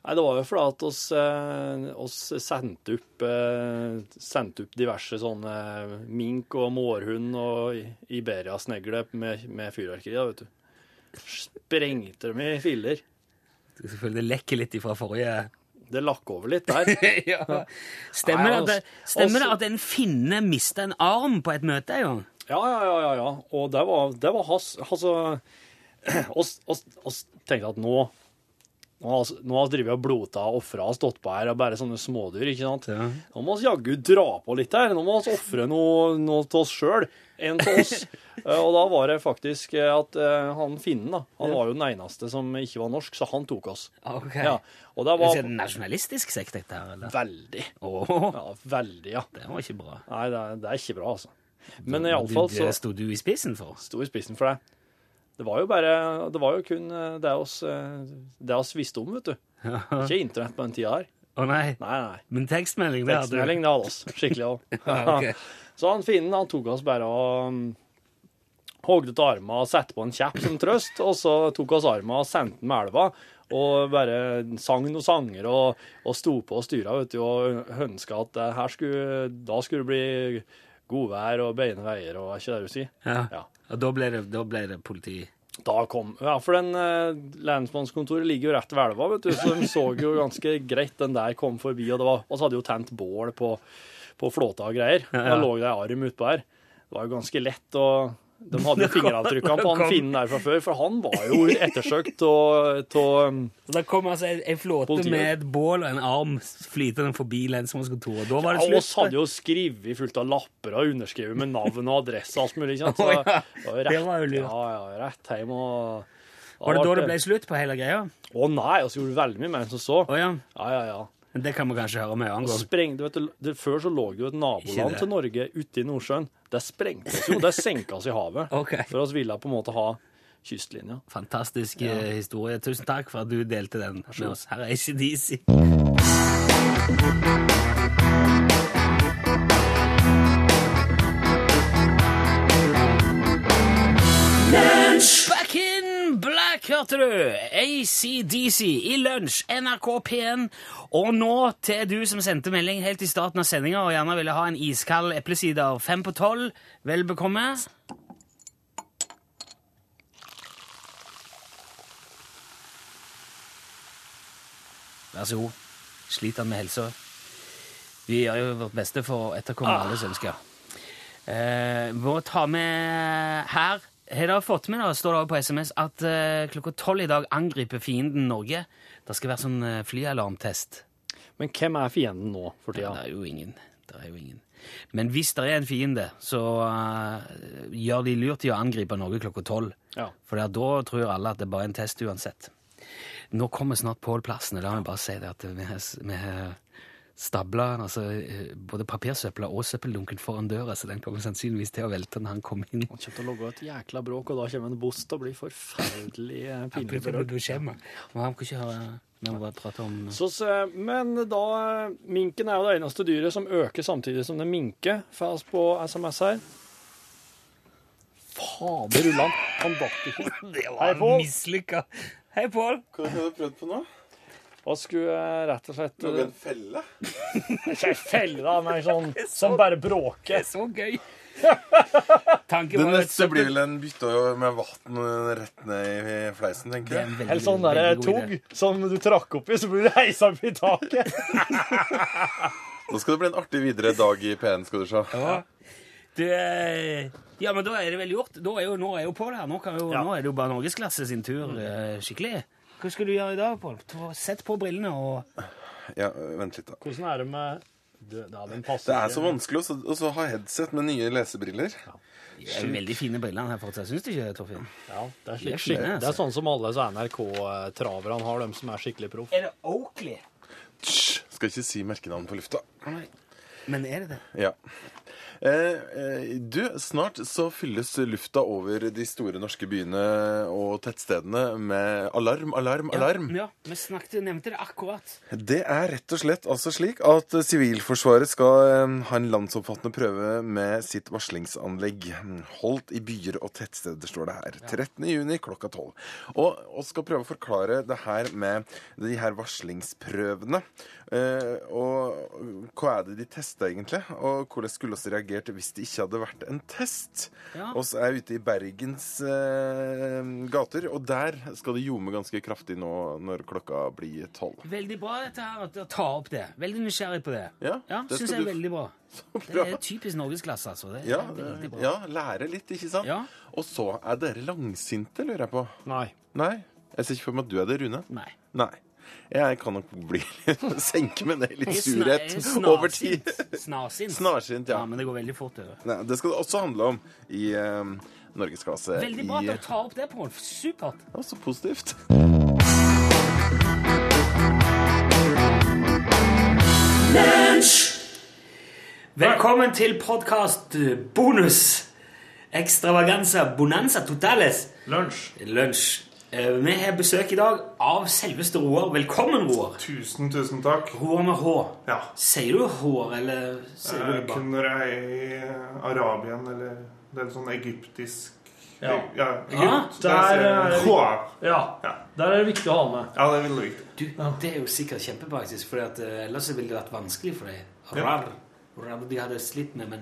Nei, det var jo fordi at oss, eh, oss sendte, opp, eh, sendte opp diverse sånne mink og mårhund og i- Iberia-snegle med, med fyrverkeri, da, vet du. Sprengte dem i filler. Selvfølgelig lekker litt ifra forrige Det lakk over litt der. ja. Stemmer, det, at det, stemmer det at en finne mista en arm på et møte? Jo? Ja, ja, ja, ja, ja. Og det var, det var hans Altså, oss, oss, oss tenkte at nå nå har vi- nå har vi drevet og blota og ofra og stått på her, og bare sånne smådyr. ikke sant? Ja. Nå må vi jaggu dra på litt her. Nå må vi ofre noe, noe til oss sjøl. En til oss. Eh, og da var det faktisk eh, at eh, han finnen, da, han var jo den eneste som ikke var norsk, så han tok oss. Ok. Ja, Og det Det er var en nasjonalistisk sekt, dette her? eller? veldig. Åh, Ja, veldig, ja. det var ikke bra. Nei, det er, det er ikke bra, altså. Men Du- iallfall så Det sto du i spissen for. sto i spissen for det. Det var jo bare Det var jo kun eh, det oss, eh, det oss visste om, vet du. Å Ikke internett på den tida her. nei, Nei, nei. men tekstmelding, det hadde du. Tekstmelding, det hadde oss. Skikkelig òg. Ja, ok. Så han finnen han tok oss bare og mm, hogde ut armen og satte på en kjepp som trøst, og så tok oss armen og sendte den med elva. Og bare sang noen sanger og, og sto på og styra vet du, og ønska at eh, her skulle, da skulle det bli godvær og beine veier og er ikke det du sier? Ja. Ja. Og da ble det, da ble det politi. Da kom Ja, for den eh, lensmannskontoret ligger jo rett ved elva, vet du, så de så jo ganske greit den der kom forbi, og det var Og så hadde jo tent bål på, på flåta og greier. Og Da lå det ei arm utpå her. Det var jo ganske lett å De hadde jo fingeravtrykkene på han finnen der fra før, for han var jo ettersøkt um, av Og da kom altså en, en flåte Politiet. med et bål og en arm flytende forbi lensmannskontoret. Da var det Og slutt. oss hadde jo skrevet fullt av lapper og underskrevet med navn og adresse og alt mulig, ikke sant. Så Å, ja. var jo Det var jo lurt. Ja, ja, rett hjem og var det da det ble slutt på hele greia? Å nei, vi gjorde veldig mye mer enn som så. Å ja. Ja, ja, ja. Men det kan vi kanskje høre med en annen Og gang. spreng, du vet, det, før så lå det jo et Sånn. Ikke naboland det. til Norge ute i Nordsjøen. Det sprengtes jo, det senka oss i havet. Ok. For oss ville på en måte ha kystlinja. Fantastisk eh, historie. Tusen takk for at du delte den med oss. Her er ACDC. Back in black, hørte du! ACDC i lunsj, NRK P1. Og nå til du som sendte melding helt i starten av sendinga og gjerne ville ha en iskald eplesider fem på tolv. Vel bekomme. Vær så god. Sliter med helsa. Vi gjør jo vårt beste for å etterkomme alles ønsker. Eh, må ta med her Har dere fått med, da, står det også på SMS, at eh, klokka tolv i dag angriper fienden Norge. Det skal være sånn eh, flyalarmtest. Men hvem er fienden nå for Ja. tida? Det er jo ingen. Det er jo ingen. Men hvis det er en fiende, så eh, gjør de lurt i å angripe Norge klokka tolv. Ja. For da tror alle at det bare er en test uansett. Nå kommer snart Pål Plassen, og da må jeg bare si det at vi har, s- vi har stabla han, altså, eh, både papirsøpla og søppeldunken foran døra, så den kommer sannsynligvis til å velte når han kommer inn. Han kommer til å logge et jækla bråk, og da kommer en boss til å bli forferdelig eh, pinlig berørt. Du kommer. Og han kan ikke høre Vi må bare prate om Så, s- eh, men da eh, Minken er jo det eneste dyret som øker samtidig som det minker. Fas på SMS her. Fader ullan, han datt ikke. Det Hei, var Pål. mislykka. Hei, Pål. Hva har du prøvd på nå? Og skulle eh, rett og slett Logge en felle? Ikke ei felle, da, men sånn som bare bråker. Så gøy. Tanken Det var et neste blir vel en bytte med vann rett ned i fleisen, tenker jeg. veldig, Eller sånn veldig der god tog idé. som du trakk opp i, så blir du heisa opp i taket. Nå skal det bli en artig videre dag i P1, skal du se. Du, eh, ja, men da er det vel gjort. Da er jo, nå er jo Pål her. Nå, kan jo, nå er det jo bare norgesklasse sin tur eh, skikkelig. Hva skal du gjøre i dag, Pål? Ta- Sett på brillene og Ja, vent litt, da. Hvordan er det med det, ja, den passer Det er så ikke. vanskelig også- også å ha headset med nye lesebriller. Det er veldig fine brillene her fortsatt. Syns du ikke, Torfinn? Ja, det Det er, er slik, skikk- fine, det er sånn som alle så NRK-traverne har, dem som er skikkelig proff. Er det Oakley? Hysj! Skal ikke si merkenavn på lufta. Men er det det? Ja. Eh, eh, du, snart så fylles lufta over de store norske byene og tettstedene med alarm, alarm, alarm. Ja, vi snakket, nevnte det akkurat. Det er rett og slett altså slik at eh, Sivilforsvaret skal eh, ha en landsomfattende prøve med sitt varslingsanlegg. mm, Holdt i byer og tettsteder, står det her. 13. juni klokka 12. Og, og skal prøve å forklare det her med de her varslingsprøvene. Eh, og hva er det de tester egentlig? Og hvordan skulle vi reagert hvis det ikke hadde vært en test? Ja. Og så er jeg ute i Bergens eh, gater, og der skal det ljome ganske kraftig nå når klokka blir tolv. Veldig bra dette her, at å ta opp det. Veldig nysgjerrig på det. Ja, det det syns jeg skal er du- veldig bra. Det bra. er typisk norgesklasse, altså. Eh, Det er Ja, veldig bra. ja, lære litt, ikke sant? Ja. Og så er dere langsinte, lurer jeg på. Nei. Nei? Jeg ser ikke for meg at du er det, Rune. Nei. Nei. Jeg kan nok bli senke meg ned i litt Jeg er sna- jeg surhet er over tid. snarsint. Snarsint. Snarsint, ja. ja. men det går veldig fort over. Nei, det skal det også handle om i eh, Norgesklasse. Veldig bra i- at du tar opp det, Pål. Supert. Ja, så positivt. Velkommen til podkast bonus. Extravaganza bonanza totales. Lunsj. Lunsj. Eh, Vi har besøk i dag av selveste Roar. Velkommen, Roar. Tusen, tusen takk. Roar med H. Ja. Eh, Sier du hår, eller sier du det Jeg bare? kunne i Arabien eller Det er sånn egyptisk Ja. ja Egypt. Ja, der er det- Hoa. Ja, der er det viktig å ha med. Ja, det er veldig viktig. Du, det er jo sikkert kjempepraktisk, for eh, ellers ville det vært vanskelig for deg. Rar. Rar de hadde slitt med, men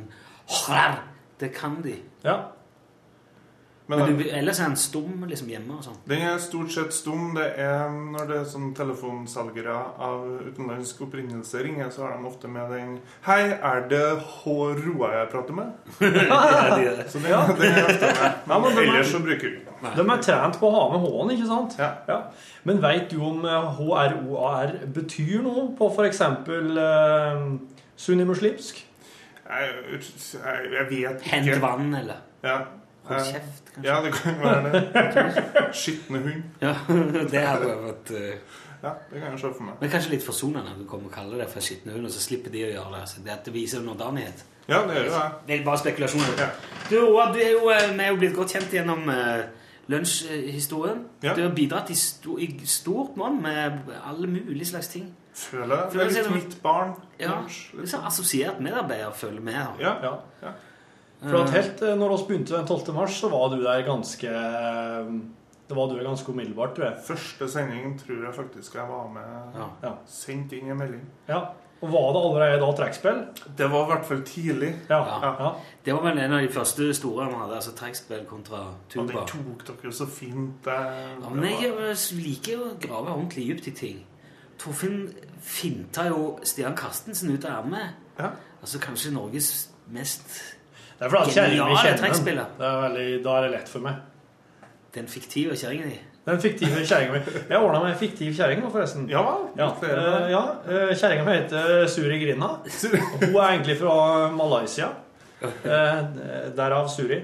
rar, det kan de. Ja. Men Men den- du, ellers er han stum liksom hjemme og sånn. den er stort sett stum. Det er når det er sånn telefonselgere av utenlandsk opprinnelse ringer, så har de ofte med den 'Hei, er det H. Roa jeg prater med?' Så det, det er ofte med. Ja, Men men den er- ellers så bruker vi den. De er trent på å ha med H-en, ikke sant? Ja. Men veit du om eh, HROAR betyr noe på f.eks. Eh, sunnimuslimsk? Jeg, jeg, jeg vet ikke. Hent vann, eller Ja. hold Eh, kjeft, kanskje. Ja, det kan jo være det. Skitne hund. Ja, det hadde jo vært eh, Ja, det kan jeg se for meg. Men kanskje litt forsonende at du kommer og kaller det for skitne hund, og så slipper de å gjøre det. Så det at det viser underdanighet. Ja, det gjør jo jeg. Det er bare spekulasjoner. Ja. Du, Roar, du er jo, eh, vi er jo blitt godt kjent gjennom eh, lunsjhistorien. Ja. Du har bidratt i, sto, i stort monn med alle mulige slags ting. Føler jeg. Føler Det er litt seg- mitt barn. Ja, Kanskje. litt sånn assosiert medarbeider følger med. da. Ja, ja. ja. For Mm. at helt eh, når oss begynte den 12. mars, så var du der ganske eh, Det var du der ganske umiddelbart, tror jeg. Første sendingen tror jeg faktisk jeg var med Ja. Ja. Sendt inn en melding. ja. Og var det allerede da trekkspill? Det var i hvert fall tidlig. Ja. Ja. ja. Det var vel en av de første store vi hadde, altså trekkspill kontra Og den tuba. tok dere jo så fint. eh, Ja, men jeg eh, liker jo å grave ordentlig dypt i ting. Torfinn finta jo Stian Carstensen ut av ermet. Ja. Altså kanskje Norges mest Det er fordi at kjerringa Geniale kjenner den. trekkspiller. Det er veldig, da er det lett for meg. Den fiktive kjerringa di. Den fiktive kjerringa mi. Jeg ordna meg en fiktiv kjerring nå, forresten. Ja, Ja, eh, ja. eh, Kjerringa mi heter Suri Grinda. Hun er egentlig fra Malaysia. Eh, Derav Suri.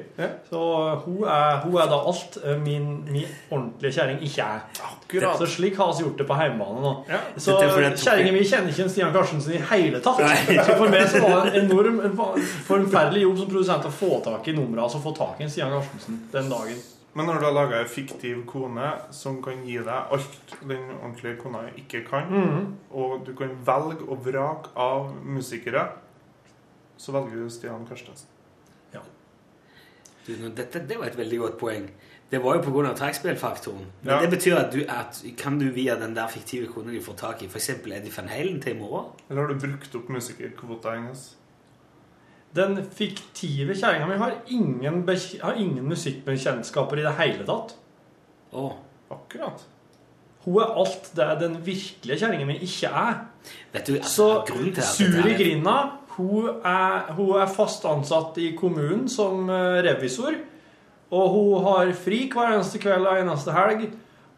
Så hun er, hun er da alt eh, min, min ordentlige kjerring ikke er. akkurat. Så slik har vi gjort det på hjemmebane nå. Ja. Så Dette er fordi jeg tok- kjerringa mi kjenner ikke en Stian Karstensen i hele tatt. Så for meg så var det en enorm, en fa- forferdelig jobb som produsent å få tak i numra altså få tak i en Stian Karstensen den dagen. Men når du har laga ei fiktiv kone som kan gi deg alt den ordentlige kona ikke kan, Mm. og du kan velge og vrake av musikere, så velger du Stian Karstensen. Du, nå, dette, det var et veldig godt poeng. Det var jo pga. trekkspillfaktoren. Men Ja. det betyr at, du, at kan du via den der fiktive kona di få tak i f.eks. Eddie van Halen til i morgen? Eller har du brukt opp musikerkvota hennes? Den fiktive kjerringa mi har ingen, bek- har ingen musikkbekjentskaper i det hele tatt. Å, Akkurat. Hun er alt det den virkelige kjerringa mi ikke er. vet du, altså, Så grunnen til at dette Suri er- Grinda hun er, hun er fast ansatt i kommunen som eh, revisor. Og hun har fri hver eneste kveld og eneste helg.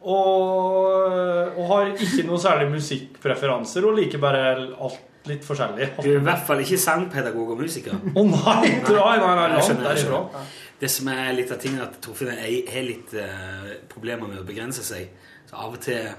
Og, og har ikke noe særlig musikkpreferanser. Hun liker bare alt litt forskjellig. Du er i hvert fall ikke sangpedagog og musiker. Å nei! Nei, nei, nei, Jeg langt skjønner, jeg derifra. skjønner. Det som er litt av tingen er at Torfinn og jeg har litt eh, problemer med å begrense seg. Så av og til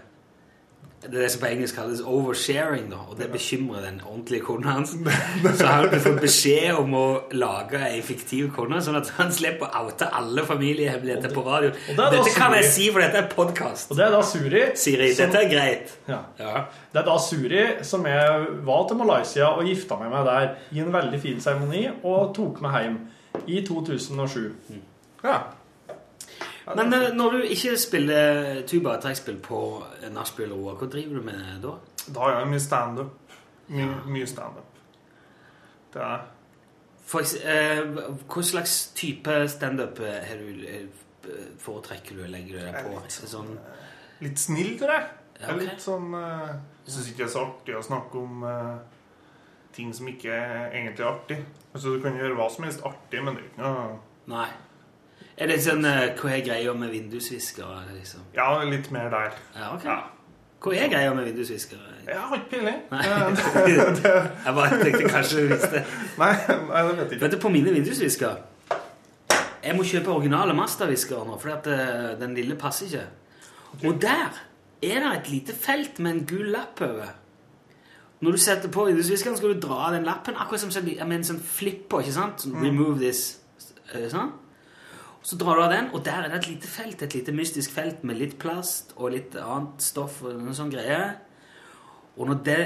Det er det som på engelsk kalles oversharing, da, og det bekymrer den ordentlige kona hans. Så han har fått beskjed om å lage ei fiktiv kone, sånn at han slipper å oute alle familiehemmeligheter på radio. og det er da Dette kan jeg Siri- si, for dette er podkast. Og det er da Suri Siri, som- dette er greit. ja. Ja. Det er da Suri som jeg var til Malaysia og gifta meg med der i en veldig fin seremoni og tok meg hjem i 2007. Ja. Men eh, når du ikke spiller tuba og trekkspill på nachspiel, Roar, hva driver du med da? Da har jeg mye standup. My, mye standup. Det er For, eks- eh, hva slags type standup eh, har du, eh, foretrekker du? Legger du deg på? Sånn, litt snill, tror jeg. Ja, Det er ok. Litt sånn eh, Jeg syns ikke det er så artig å snakke om eh, ting som ikke er egentlig artig. Altså, Du kan gjøre hva som helst artig, men det er ikke noe nei. Er det sånn eh, Hva er greia med vindusviskere, liksom? Ja, litt mer der. Ja, ok. Ja. Hva er greia med vindusviskere? Jeg har ikke peiling. Nei. Jeg bare tenkte kanskje du visste. Nei, nei, det vet jeg ikke. Vet du, på mine vindusvisker Jeg må kjøpe originale Mazda-viskere nå, fordi at eh, den lille passer ikke. Og der er det et lite felt med en gul lapp over. Når du setter på vindusviskeren, skal du dra av den lappen, akkurat som sånn, med en sånn flipper, ikke sant? Sånn, Remove this. eh, Sånn. Så drar du av den, og der er det et lite felt, et lite mystisk felt med litt plast og litt annet stoff og noen sånn greier. Og når det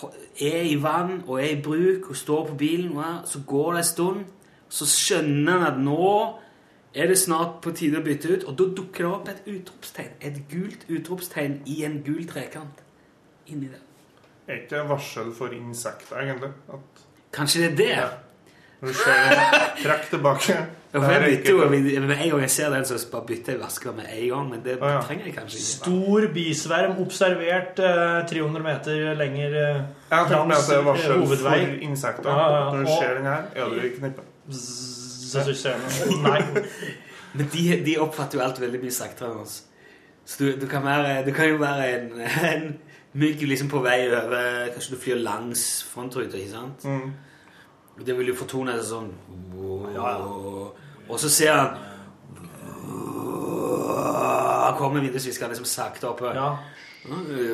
ho- er i vann og er i bruk og står på bilen, hva, så går det en stund, så skjønner han at nå er det snart på tide å bytte ut, og da dukker det opp et utropstegn, et gult utropstegn i en gul trekant inni der. Er ikke det varsel for insekter, egentlig? At Kanskje det er det? når du ser Trekk tilbake. Ja, Det for er jeg bytter jo, ikke- Med en gang jeg ser den, så bare bytter jeg vasker med en gang, men det Å, ja. trenger jeg kanskje ikke. Stor bisverm observert eh, 300 meter lenger eh, Jeg tror langs eh, med at det er varsel for hovedvei. insekter. Ja, ja, ja. Når du ser den her, er du i knippe. Så du ser noe. Nei. Men de, de oppfatter jo alt veldig mye saktere enn oss. Så du, du, kan være, du kan jo være en, en mygg liksom på vei over Kanskje du flyr langs frontruta, ikke sant? Mm. Og det vil jo fortone seg sånn Og så ser han Han kommer vindusviskeren liksom sakte oppover. Ja.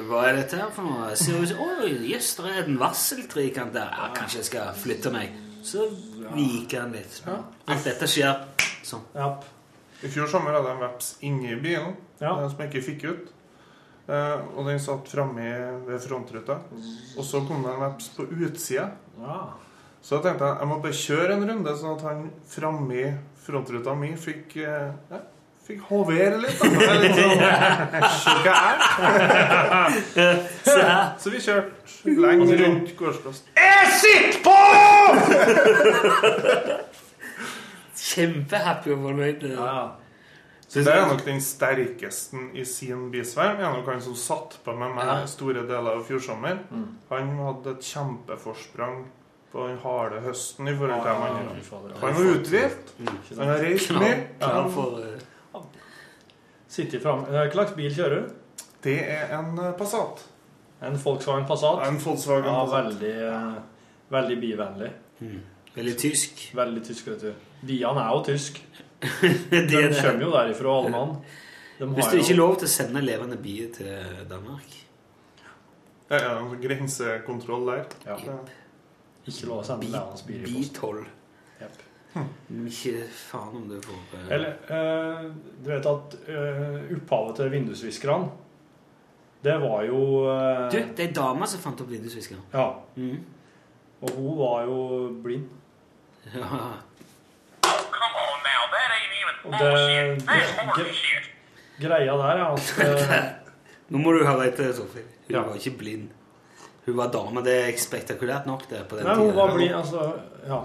Hva er dette her for noe? Ser ut som Oi, jøss, det er en varseltrekant der. Ja, kanskje jeg skal flytte meg. Så viker han litt. Alt dette skjer sånn. Ja. I fjor sommer hadde jeg en veps inni bilen Ja. eh, som jeg ikke fikk ut. Eh, og den satt framme ved frontruta. Og så kom det en veps på utsida. Ja. Så jeg tenkte jeg jeg må bare kjøre en runde, sånn at han framme i frontruta mi fikk eh, ja, Fikk hovere litt. Da. Det er litt sånn, «Se hva jeg er». Se her. Så vi kjørte lenge rundt gårdsplassen. Kjempehappy og fornøyd. ja. Så det er nok den sterkeste i sin bisverm. Det er nok han som satt på med meg store deler av fjor sommer. Han hadde et kjempeforsprang på den harde høsten i forhold til de Mm. altså. andre. Han var uthvilt. Han har reist mye. Klar for, eh, Sitter fram. Hva slags bil kjører du? Det er en eh, Passat. En Volkswagen Passat? En Volkswagen ja, Passat. veldig, eh, veldig bivennlig. Veldig tysk. Veldig tysk, vet du. Bian er jo tysk. Det De er det. kommer jo derifra, alle mann. De Hvis har det ikke er jo lov til å sende levende bier til Danmark Det er en grensekontroll der. Ja. Det- ikke lov å sende lærernes bier i posten. Bi-12. Jep. Hm. Ikke faen om det får eh, Eller, eh, du vet at eh, opphavet til vindusviskerne, det var jo eh, Du, det er ei dame som fant opp vindusviskeren. Ja. Mhm. Og hun var jo blind. Ja. Og det, det gre- greia der er at eh, Nå må du høre etter, Sofie. Hun Ja. var ikke blind. Hun var dame. Det er spektakulært nok, det. på den Nei, hun tiden. var blind, altså Ja.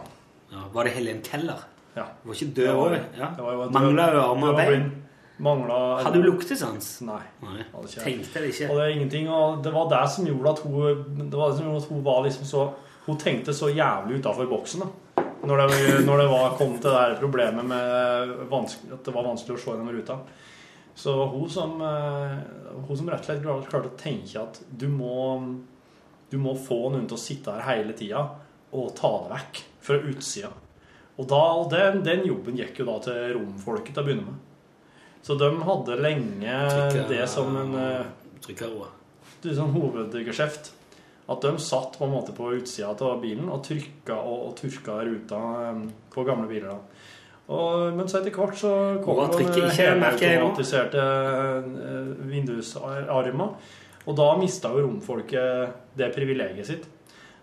Ja, var det Helen Keller? ja. Hun var ikke Det død var- òg? det var jo Ja. at- Mangla hun hun armer var og bein? blind. Manglet- Hadde hun luktesans? Nei. Nei. hadde ikke jeg. Tenkte det Og ikke. det er ingenting, og det var det som gjorde at hun Det var det som gjorde at hun var liksom så Hun tenkte så jævlig utafor boksen, da. Når det, når det var, kom til det her problemet med vanskelig, at det var vanskelig å se gjennom ruta. Så det var hun som, eh, hun som rett og slett klarte- klarte å tenke at du må, du må få noen til å sitte her hele tida og ta det vekk fra utsida. Og da, og den, den jobben gikk jo da til romfolket til å begynne med. Så de hadde lenge det som en eh, Trykkerroa. det er sånn hovedgeskjeft. At de satt på en måte på utsida av bilen og trykka og, og turka ruta em, på gamle biler. da. Og, men så etter hvert så kom Hva det trykker ikke jeg, merker jeg nå? helautomatiserte eh, vindusarmer. Og da mista jo romfolket det privilegiet sitt.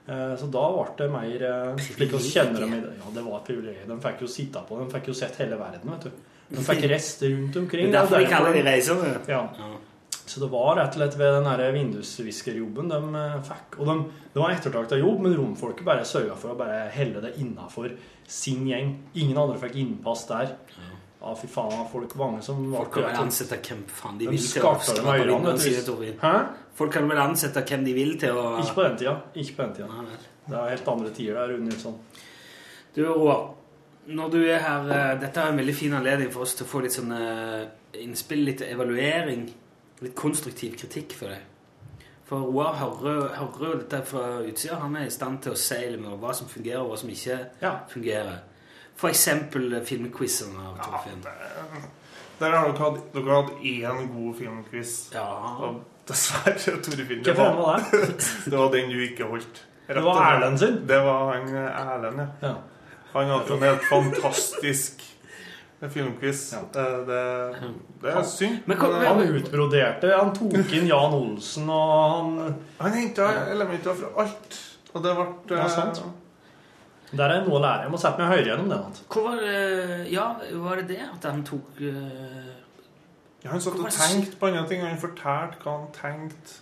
Eh, Så da ble det mer eh, slik vi kjenner dem i det. Ja, det var et privilegium. De fikk jo sitte på, de fikk jo sett hele verden, vet du. De fikk reist rundt Det omkring. er derfor de Derfor- kaller de reisende. ja. Ja. Så det var rett og slett ved den her vindusviskerjobben de eh, fikk. Og de, det var ettertrakta jobb, men romfolket bare sørga for å bare helle det innafor sin gjeng. Ingen andre fikk innpass der. Ja, fy faen, folk mange som var Folk kan vel ansette hvem faen de De vil til å skarper skrape med på øynene. vinduene sine, vet du. Torvin. Hæ? Folk kan vel ansette hvem de vil til å Ikke på den tida. Ikke på den tida. Nei, vel. Det er helt andre tider der, Rune Nilsson. Du, Roar. Når du er her eh, Dette er en veldig fin anledning for oss til å få litt sånn eh, innspill, litt evaluering. Litt konstruktiv kritikk for deg. For Roar hører, hører jo dette fra utsida. Han er i stand til å si litt mer om hva som fungerer, og hva som ikke Ja. fungerer. For eksempel eh, filmquizen av Torfinn. Der har dere hatt, dere har hatt én god filmquiz. Ja. Og dessverre, Torfinn, det Hvem var, fremma det? det var den du ikke holdt. Det var Erlend sin. Det var han eh, Erlend, ja. Ja. Han hadde en helt fantastisk filmquiz. Eh, Det, det er synd. Men kom- men- Han utbroderte. Han tok inn Jan Olsen, og han Han henta elementer fra alt. Og det ble Ja, eh, sant. Der er noe å lære. Jeg må sette meg høyere gjennom det. Nat. Hvor var det Ja, var det det at han tok eh, ja, Han satt Hvorfor og er det tenkte på andre ting. Han fortalte hva han tenkte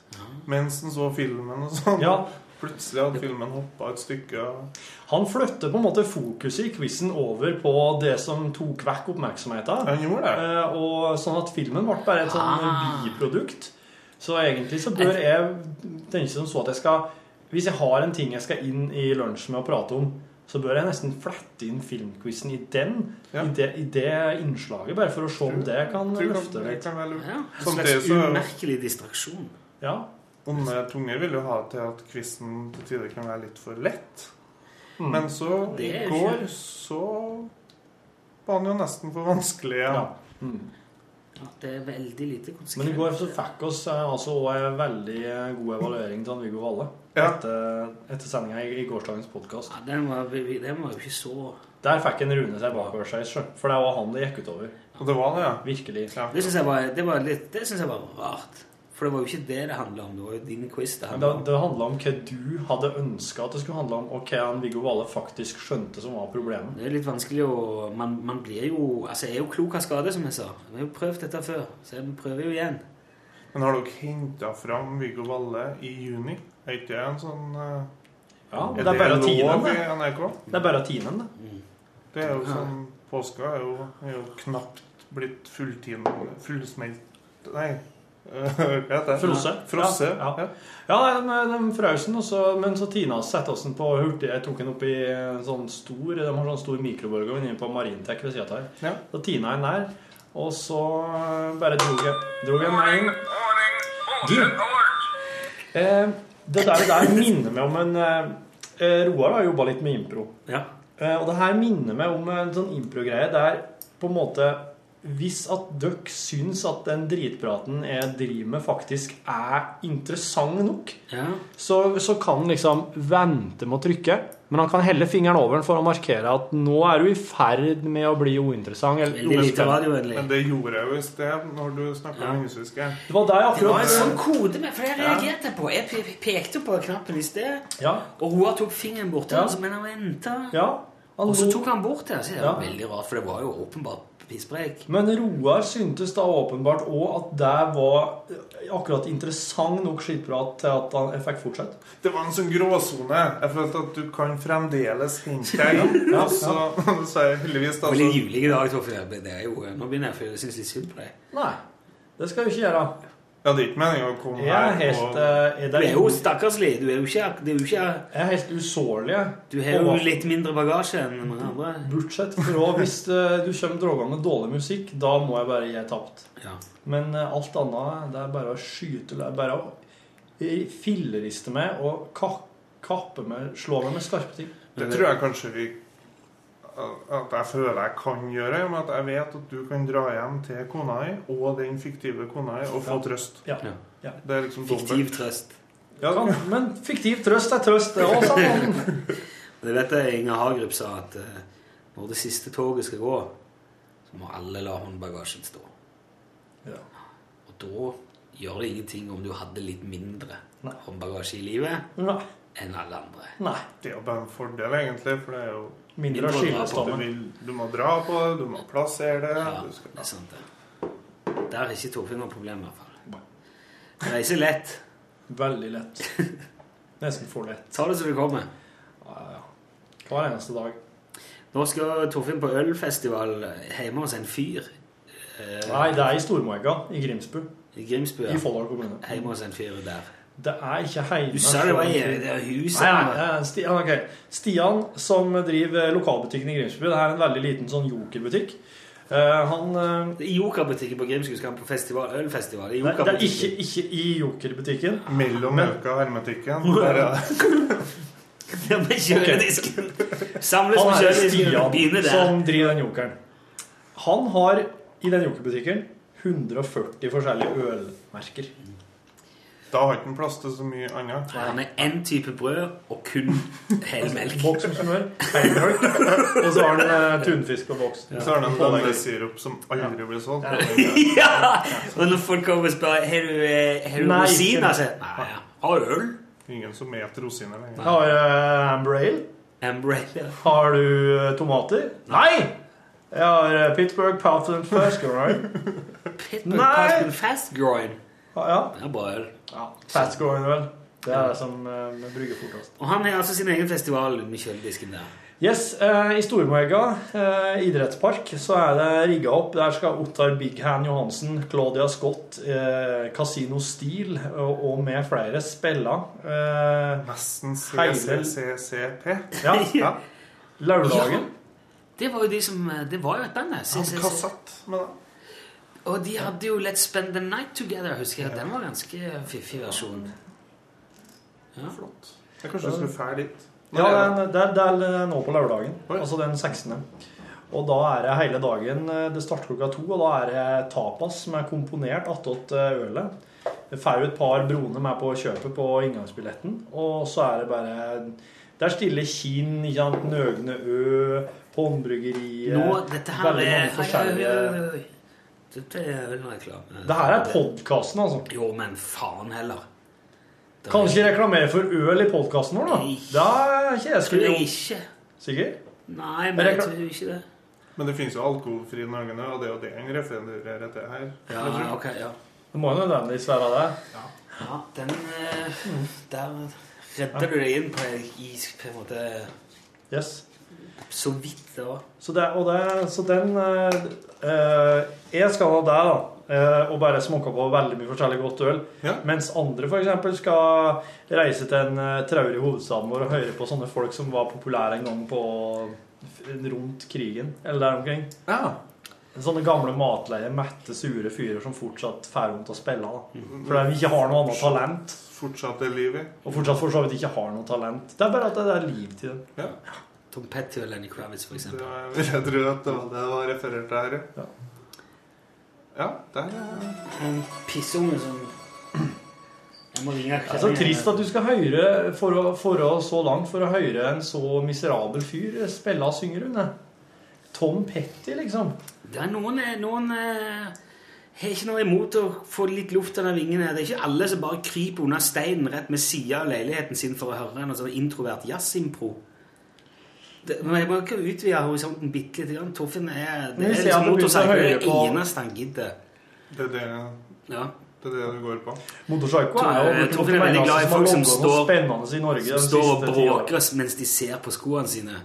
mens han så filmen. og sånn. Ja, Plutselig hadde filmen hoppa et stykke. og- Han flytter på en måte fokuset i quizen over på det som tok vekk oppmerksomheten. Han gjorde det. Eh, Og sånn at filmen ble bare et sånn Ah. biprodukt. Så egentlig så bør jeg tenke som så at jeg skal Hvis jeg har en ting jeg skal inn i lunsj med å prate om, så bør jeg nesten flette inn filmquizen i den, Ja. i, det, i det innslaget, bare for å se om det kan Tror jeg løfte kan- det litt. kan være lurt. ja, En Samtidig slags så- umerkelig distraksjon. Ja. Onde tunger vil jo ha til at quizen til tider kan være litt for lett. Men så i Det er jo går ikke- så var den jo nesten for vanskelig. Ja. Ja. Mm. Ja, det er veldig lite konsekvent. Men i går så fikk oss eh, altså også en veldig eh, god evaluering til han Viggo Valle Ja. etter, etter sendinga i, i gårsdagens podkast. Ja, den var, vi- vi- den var jo ikke så Der fikk en Rune seg bakover seg sjøl, for det var han det gikk utover. Og det var det, ja. Virkelig. Det syns jeg, var- det var litt- det synes jeg var rart. For det var jo ikke det det handla om. Det var jo din quiz det Men det, handla om. det handla om hva du hadde ønska at det skulle handle om, og hva han Viggo Valle faktisk skjønte som var problemet. Det er litt vanskelig å man, man blir jo Altså, jeg er jo klok av skade, som jeg sa. Vi har jo prøvd dette før, så jeg prøver jo igjen. Men har dere henta fram Viggo Valle i juni? Er ikke det en sånn eh, Ja, og Er det er bare lov tinen, i det. NRK? Det er bare tinen, det. Det er jo sånn Påska er jo, er jo knapt blitt fulltiden Fullsmelt Nei, eh, hva heter det? Frosse. Frosse. Ja, ja. ja. Ja, de, de frøs den, og så- men så tina oss setter oss den på hurtig. Jeg tok den opp i eh, en sånn stor De har sånn stor mikroborger inne på Marintek ved sida av her. Ja. Så tina jeg den der. Og så eh, bare drog jeg, drog jeg meg inn. Du, eh, det der, det der minner meg om en eh, eh, Roar har jobba litt med impro. Eh, og det her minner meg om en sånn impro-greie der på en måte Hvis at dere syns at den dritpraten jeg driver med, faktisk er interessant nok, så, så kan han liksom vente med å trykke. Men han kan helle fingeren over den for å markere at nå er du i ferd med å bli uinteressant. Eller, Men det gjorde jeg jo i sted, når du snakka om russiske. Det var der Det var akkurat en sånn kode med, for jeg Ja. reagerte på. Jeg pe- pe- pekte på knappen i sted, Ja. og Roar tok fingeren bort til Ja. den, så men han ventet. Ja. Og så tok han bort det. Så det var Ja. veldig rart, for det var jo åpenbart pisspreik. Men Roar syntes da åpenbart òg at det var akkurat interessant nok skitprat til at han, jeg fikk fortsette. Det var en sånn gråsone. Jeg følte at du kan fremdeles hente deg inn. Ja, ja. Og så sa jeg heldigvis da Det var så- litt julig i dag, Torfinn. Jeg ble- Det er jo, nå begynner jeg å føle- synes litt synd på deg. Nei, det skal du ikke gjøre. Ja, det er ikke meningen å komme Jeg er her helt, og eh, Du er jo jeg stakkarslig. Du er jo ikke, det er jo ikke er helt usårlig. jeg. Du har jo Og- litt mindre bagasje enn mange andre. Bortsett fra hvis eh, du kommer drogene med dårlig musikk, da må jeg bare gi tapt. Ja. Men eh, alt annet, det er bare å skyte Det er bare å eh, filleriste meg og ka- kappe meg, slå meg med skarpe ting. Det tror jeg kanskje vi At jeg føler jeg kan gjøre, men at jeg vet at du kan dra hjem til kona di og den fiktive kona di og få Ja. trøst. Ja. Ja. Det er liksom Fiktiv dobbelt. trøst. Ja, men fiktiv trøst er trøst, det òg, sa han. Det vet jeg Inger Hagerup sa, at eh, når det siste toget skal gå, så må alle la håndbagasjen stå. Ja. Og da gjør det ingenting om du hadde litt mindre Nei. håndbagasje i livet Nei. enn alle andre. Nei. Det er jo bare en fordel, egentlig, for det er jo Mindre av du, skillestammen. vil, du må dra på det, du må plassere det Ja, du skal, det er sant, det. Der har ikke Torfinn noe problem, i hvert fall. Reise lett. Veldig lett. Nesten for lett. Ta det som det kommer. Ja, ja, ja. Hver eneste dag. Nå skal Torfinn på ølfestival hjemme hos en fyr. eh, Nei, det er i Stormarka, i Grimsbu, I Grimsbu. ja. i Folldal kommune. Hjemme hos en fyr der. Det er ikke heime. Du sa det var i det er huset. Nei, nei, nei, Stian, ok. Stian som driver lokalbutikken i Grimsby. Det her er en veldig liten sånn jokerbutikk. Eh, han eh, I Jokerbutikken på Grimsbu skal han på festival, ølfestival. I Nei, det er ikke, Jokerbutikken. ikke i jokerbutikken. Mellom melka og hermetikken. Der er det. Ja, med kjøledisken. Samles Han med er kjøledisken. Stian Begynne der. som driver den jokeren. Han har i den jokerbutikken 140 forskjellige ølmerker. Da har ikke den plass til så mye annet. Han er én type brød og kun helmelk. Boks med smør, heimmelk, og så har han eh, tunfisk på boks. Så har den en blandesirup som aldri blir solgt. Ja! Og når folk kommer og spør Har du, eh, har du Nei, rosiner, ikke. så Nei, ja. Har du øl? Ingen som et rosiner lenger. Har uh, Amber Ale. Umbrella. Har du eh, tomater? Nei! Jeg har eh, Pittsburgh Pound First, all right? Pitbull Nei. Pascal Fast Groin. Ja, ja. Det er bra øl. ja. Fast growing, vel. Det er det som eh, vi brygger fortest. Og han har altså sin egen festival med kjøledisken der. Yes, eh, I Stormøyga eh, idrettspark så er det rigga opp. Der skal Ottar Big Hand Johansen, Claudia Scott, eh, Casino Steel og, og med flere spille. Eh, Nesten Heidel. CCCP. ja, Ja. Lørdagen. Det var jo de som eh, Det var jo et band, det. Se, se, se. Kassett med det. Og de hadde jo Let's Spend the Night Together, husker jeg. Den var ganske fiffig versjon. Ja. Flott. Jeg kanskje skulle fære dit. Ja, den, det, er, det er nå på lørdagen. Oi. Altså den 16. Og da er det hele dagen eh, Det starter klokka to, og da er det tapas som er komponert attåt eh, ølet. Jeg får jo et par broner med på kjøpet på inngangsbilletten, og så er det bare Der stiller Kinn, ikke sant, Nøgne Ø, Håndbryggeriet Nå, dette her Veldig mange er forskjellige Oi, oi, oi, oi. Dette er ølreklame. Det her er podkasten, altså. Jo, men faen heller. Det Kan ikke reklamere for øl i podkasten vår, da. Nei. Det er ikke jeg tror skulle jeg gjort. ikke. Sikker? Nei, men jeg Rekla- tror ikke det. Men det finnes jo alkoholfri Norge nå, og det er jo det han refererer til her. Ja, ok, ja. Det må jo nødvendigvis være det. ja den eh, Der redder du deg inn på en is, på en måte Yes. Så vidt, det var. Så, det, og det, så den eh, eh, Jeg skal ha deg, da. eh, og bare smokke på veldig mye forskjellig godt øl. Ja. Mens andre f.eks. skal reise til en eh, traurig hovedstad vår og høre på sånne folk som var populære en gang på rundt krigen eller der omkring. Ja. Sånne gamle matleie, mette, sure fyrer som fortsatt får vondt å spille. Da. Mm. Fordi vi ikke har noe annet talent. Fortsatt er livet. Og fortsatt for så vidt ikke har noe talent. Det er bare at det er liv til dem. Tom Petty og Lenny Kravitz, for eksempel. Jeg tror at det var det var referert til her, ja. Ja, der er En pissunge som Jeg må ringe Det er så trist at du skal høre for å, for å så langt for å høre en så miserabel fyr spille og synge, Rune. Tom Petty, liksom. Det er noen, noen eh, har ikke noe imot å få litt luft under vingene. Det er ikke alle som bare kryper under steinen rett med sida av leiligheten sin for å høre en sånn introvert jazzimpro. Det- Men jeg må ikke utvide horisonten bitte lite grann. Torfinn er Men det vi er ser liksom at du motorsaker. Det begynner å er det høre på- eneste han gidder. Det er det, Ja. det, er det du går på. Motorpsycho Tor- er jo eh, Torfinn er veldig glad i som har folk som logget noe står, spennende i Norge som de står og siste ti årene. bråker mens de ser på skoene sine.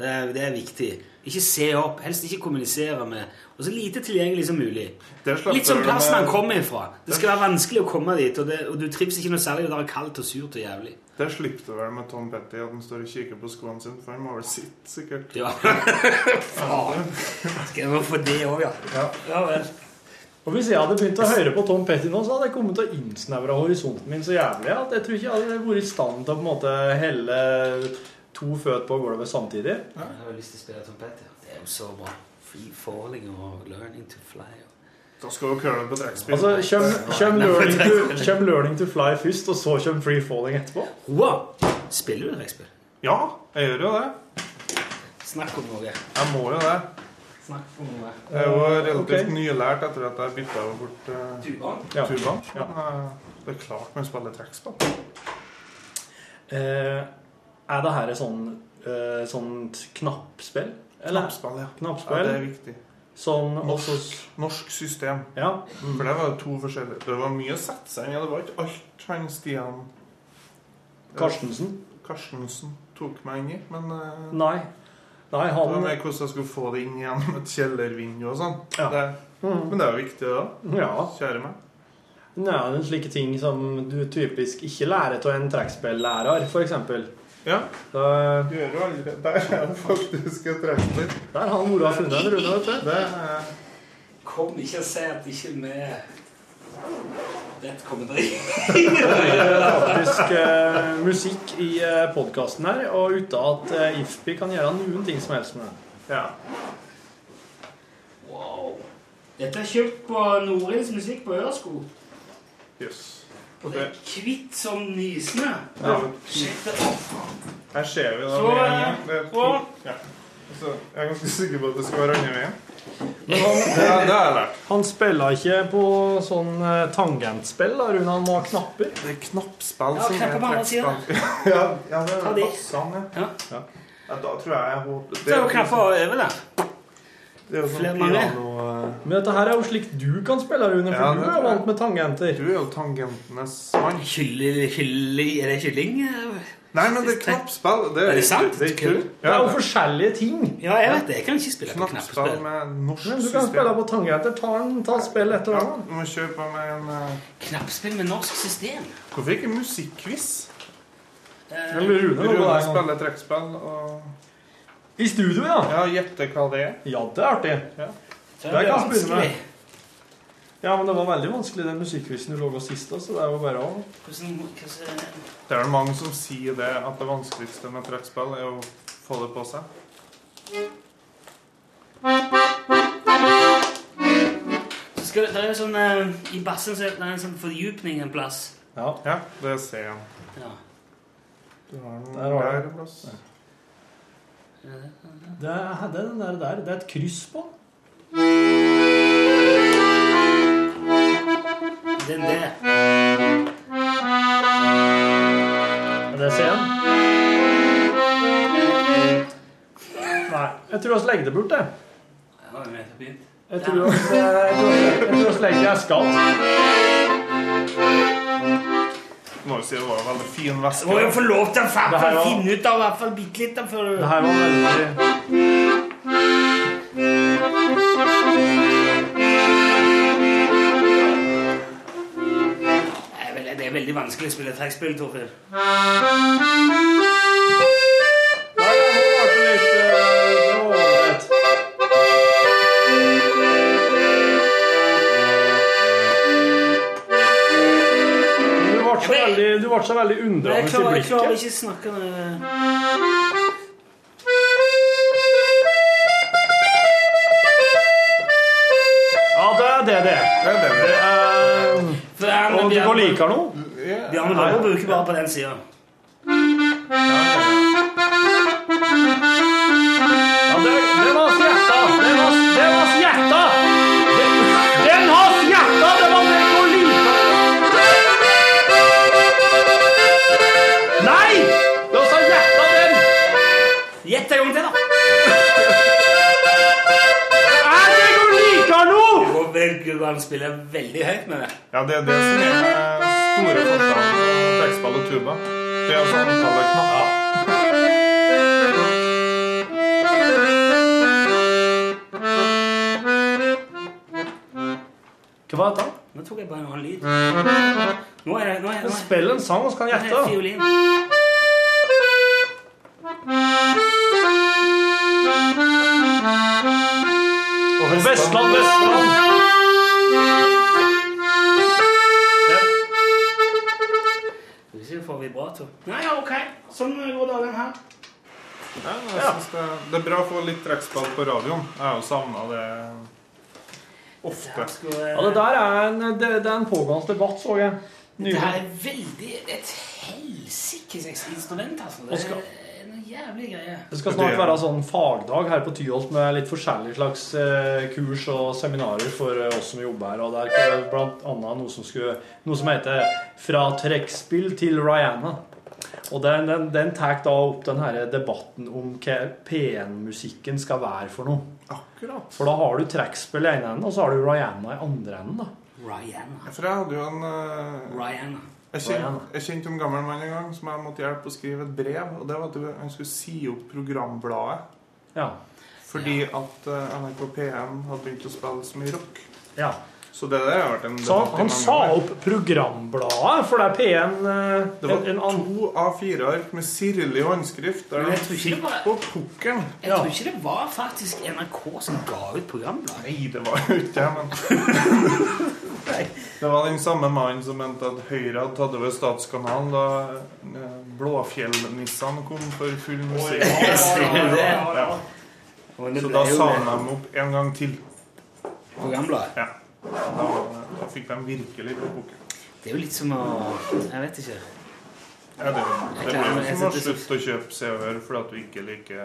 Det er, det er viktig. Ikke se opp. Helst ikke kommunisere med. Og så lite tilgjengelig som mulig. slapper Litt som du plassen med- han kommer ifra. Det skal være vanskelig å komme dit, og, det, og du trives ikke noe særlig. og Det er kaldt og surt og jævlig. Det slipper du vel med Tom Petty, at han står og kikker på skoene sine, for han må vel sitte, sikkert. Ja. Skal jeg få det òg, ja? Ja vel. Og Hvis jeg hadde begynt å høre på Tom Petty nå, så hadde jeg kommet til å innsnevre horisonten min så jævlig at jeg tror ikke jeg hadde vært i stand til å på en måte helle to føt på gulvet samtidig. Jeg har lyst til å spille Tom Petty. Det er jo så bra. Free falling og learning to fly. Da skal du køle på trekkspill. Altså, kjøm, kjøm, learning to, kjøm learning to fly først, og så kjøm free falling etterpå. Wow. Spiller du trekkspill? Ja, jeg gjør jo det. Snakk om noe. Jeg må jo det. Snakk om noe. Jeg er jo relativt Ok. nylært etter at jeg bytta bort uh, tubaen. Ja. Men, eh, det er klart man spiller trekkspill. Eh, er det her et sånn, eh, sånt knappspill? Knappspill, ja. Knappspill. Ja, det er viktig. Sånn, også, Norsk, norsk system. Ja. For det var jo to forskjellige. Det var mye å sette seg inn i. Det var ikke alt han Stian Karstensen? Karstensen tok meg inn i, men eh, Nei. Nei, han Det var mer hvordan jeg skulle få det inn gjennom et kjellervindu og sånn. Ja. Det, Mm. men det er jo viktig, det da. Ja. Kjære meg. Nei, det er slike ting som du typisk ikke lærer av en trekkspillærer, f.eks. Ja. Da, Gjør jo aldri Der er det faktisk et trekkspill. Der har han mora funnet en runde, vet du. Det er Kom ikke og si at ikke vi rett kommer deg. Det er faktisk eh, musikk i eh, podkasten her, og uten at eh, Ifpi kan gjøre noen ting som helst med det. Wow. Dette er kjøpt på Norins musikk på Ørskog. Jøss. Det er Kvitt som nysnø. Ja. Sjekk det opp. Her ser vi da Så, med en gang. Det er to- og- ja. Altså, Jeg er ganske sikker på at det skal være andre veien. Men han- Ja, det har jeg lært. Han spiller ikke på sånn eh, tangentspill, da, Rune. Han må ha knapper. Det er knappspill Ja, knapp på andre siden. ja, ja, det Ta er de. passene. Ja. Ja. Ja, da tror jeg jeg håper Så er liksom det knapper over der. Det er jo Flere sånn mange. piano eh, Men dette her er jo slik du kan spille, Rune, for Ja, det du tror er jeg. vant med tangenter. Du er jo tangentenes mann. Kylling, kylling, er det kylling? Nei, men det er knappspill. Det Er det sant? Det er kult. Det Ja, er jo det er forskjellige ting. Ja, jeg vet det. Jeg kan ikke spille på knappspill knappspill. med norsk Men du kan spille system. på tangenter. Ta, en- ta spill etter Ja, hverandre. du må kjøpe meg en eh, Knappspill med norsk system. Hvorfor ikke musikkquiz? Eh, Eller Rune. nå går Rune jeg en gang. spiller trekkspill og I studio, ja. Ja, gjette hva det er. Ja, det er artig. så Det er er det ganske vanskelig. Ja, men det var veldig vanskelig den musikkquizen du lå og sist, da, så det er jo bare å Hvordan, hvordan, Det er vel mange som sier det, at det vanskeligste med trekkspill er å få det på seg. så skal, det- det er jo sånn, eh, I bassen så er det en sånn fordypning en plass. Ja. Ja, det ser jeg. Ja. Du har den Der har jeg. der en plass. Det er, det er den der, der. Det er et kryss på. Den der. Er det C-en? Nei. Jeg tror vi legger det bort, det. Ja, det er nettopp begynt. Jeg tror oss, jeg tror oss, jeg tror oss legger jeg skatt. Må jo si det var en veldig fin Jeg må veske. jo få lov til å faen, Det her var- finne ut av i hvert fall bitte litt. da, For... Det her var veldig Det er veldig- Det er veldig vanskelig å spille trekkspill, Torfinn. Nei, det var kanskje litt, eh, det var ålreit. du ble så veldig Jeg undrende i klarer, jeg klarer blikket. ikke snakke når jeg- Ja, det er det det er. Det er Og du går liker noe? Bjarne Bøhler bruker bare på den sida. Den har hjerte! Den har, den har hjerte! Den, den har hjerte! Det var den å like! Nei! Det var hjerte, den! Gjett en gang til, da! Er det du liker nå?! Og Gudbrand spiller veldig høyt med det. Ja, det er det som er med store forskjellen på trekkspill og tuba. Det er sånn antallet knapper. Hva var dette? Nå tok jeg bare en annen lyd. Nå er det, nå er det, nå er Spill en sang, så kan det, nå er det gjette. fiolin. Vestland, Vestland. Hvis ikke får vi vibrator. Nei, ja, ok. Sånn går dagen her. Ja, altså. jeg synes det, det er bra å få litt trekkspill på radioen. Jeg har jo savna det ofte. Ja, det der er en, det, det er en pågående debatt, så jeg. Det her Nylig. er veldig et helsikes instrument, altså. Det Oskar. er noe jævlig greie. Det skal snart være sånn fagdag her på Tyholt med litt forskjellige slags eh, kurs og seminarer for eh, oss som jobber her. Og der er det blant annet noe som, skulle, noe som heter 'Fra trekkspill til Rihanna'. Og den, den, den tar da opp den her debatten om hva P1-musikken skal være for noe. Akkurat. For da har du trekkspill i ene enden, og så har du Rihanna i andre enden. da. Rihanna. For jeg hadde jo en eh, Rihanna. Jeg kjente, jeg kjente en gammel mann en gang som jeg måtte hjelpe å skrive et brev. Og det var at han skulle si opp programbladet Ja. fordi at eh, NRK P1 hadde begynt å spille så mye rock. ja. Så det der har vært en Så han, debatt i han mange sa år. opp programbladet, for det er P1 eh, Det en, var en annen to A4-ark med sirlig håndskrift der Men de jeg tror ikke det fikk var- på pukkelen. Jeg tror ikke det var faktisk NRK som ga ut programbladet. Nei, det var jo ikke det, men Det var den samme mannen som mente at Høyre hadde tatt over Statskanalen da eh, Blåfjellnissene kom for full musikk. Ja. Så da sa de dem opp en gang til. Programbladet. Ja. Da, da fikk de virkelig på boken. Det er jo litt som å Jeg vet ikke. Ja, det, det blir jo som å slutte å kjøpe Se og Hør fordi at du ikke liker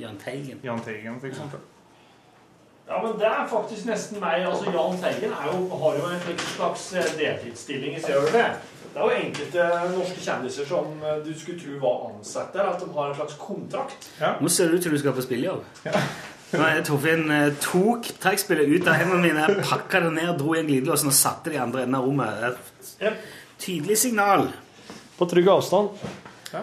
Jahn Teigen. Jahn Teigen, for eksempel. Ja, men det er faktisk nesten meg. Altså, Jan Teigen er jo, har jo en slags eh, deltidsstilling i CRV. Det er jo enkelte norske kjendiser som eh, du skulle tro var ansatt der, at de har en slags kontrakt. Nå ser det ut som du skal på spillejobb. Nå er det Torfinn eh, tok trekkspillet ut av hendene mine, pakka det ned, dro i en glidelåsen og satte det i andre enden av rommet. Det er et Tydelig signal. På trygg avstand. Det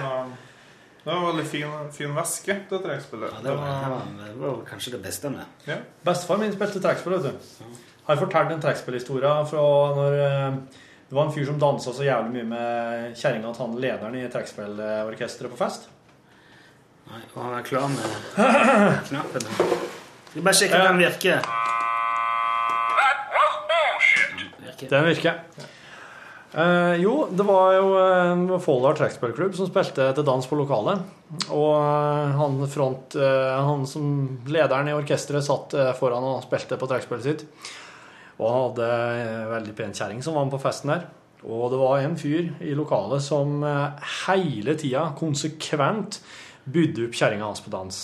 var, det var en veldig fin, fin væske, det trekkspillet. Ja, det, var, det, var, det var kanskje det beste med Ja. Bestefar min spilte trekkspill, vet du. Har fortalt en trekkspillhistorie fra når eh, det var en fyr som dansa så jævlig mye med kjerringa til han lederen i trekkspillorkesteret på fest. Nei, og han er klar med knappen. Skal bare sjekke om den virker. Den virker. Eh, jo, det var jo en Folldal trekkspillklubb som spilte til dans på lokalet. Og eh, han front eh, Han som lederen i orkesteret satt eh, foran og spilte på trekkspillet sitt. Og han hadde eh, veldig pen kjerring som var med på festen der. Og det var en fyr i lokalet som eh, hele tida konsekvent bydde opp kjerringa hans på dans.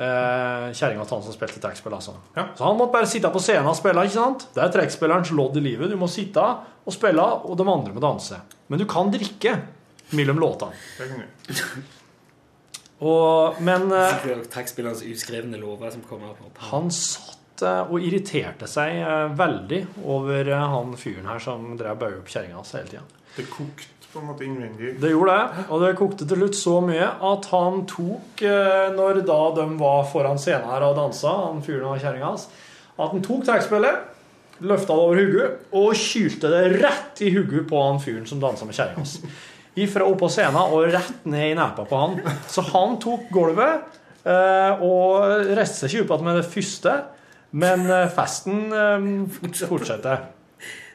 Eh, Kjerringa til han som spilte trekkspill, altså. Ja. Så han måtte bare sitte på scenen og spille. ikke sant? Det er trekkspillerens lodd i livet. Du må sitte og spille, og de andre må danse. Men du kan drikke mellom låtene. Det kan du. Og, men eh, Det er jo Trekkspillerens uskrevne lover som kommer opp. han satt eh, og irriterte seg eh, veldig over eh, han fyren her som drev og baude opp kjerringa hans hele tida. Det kokte på en måte innvendig. Det gjorde det, og det kokte til slutt så mye at han tok, eh, når da de var foran scenen her og dansa, han fyren og kjerringa hans, at han tok trekkspillet, løfta det over hodet og kylte det rett i hodet på han fyren som dansa med kjerringa hans. Ifra oppå scenen og rett ned i nepa på han. Så han tok gulvet eh, og reiste seg ikke opp igjen med det første, men eh, festen eh, fortsetter.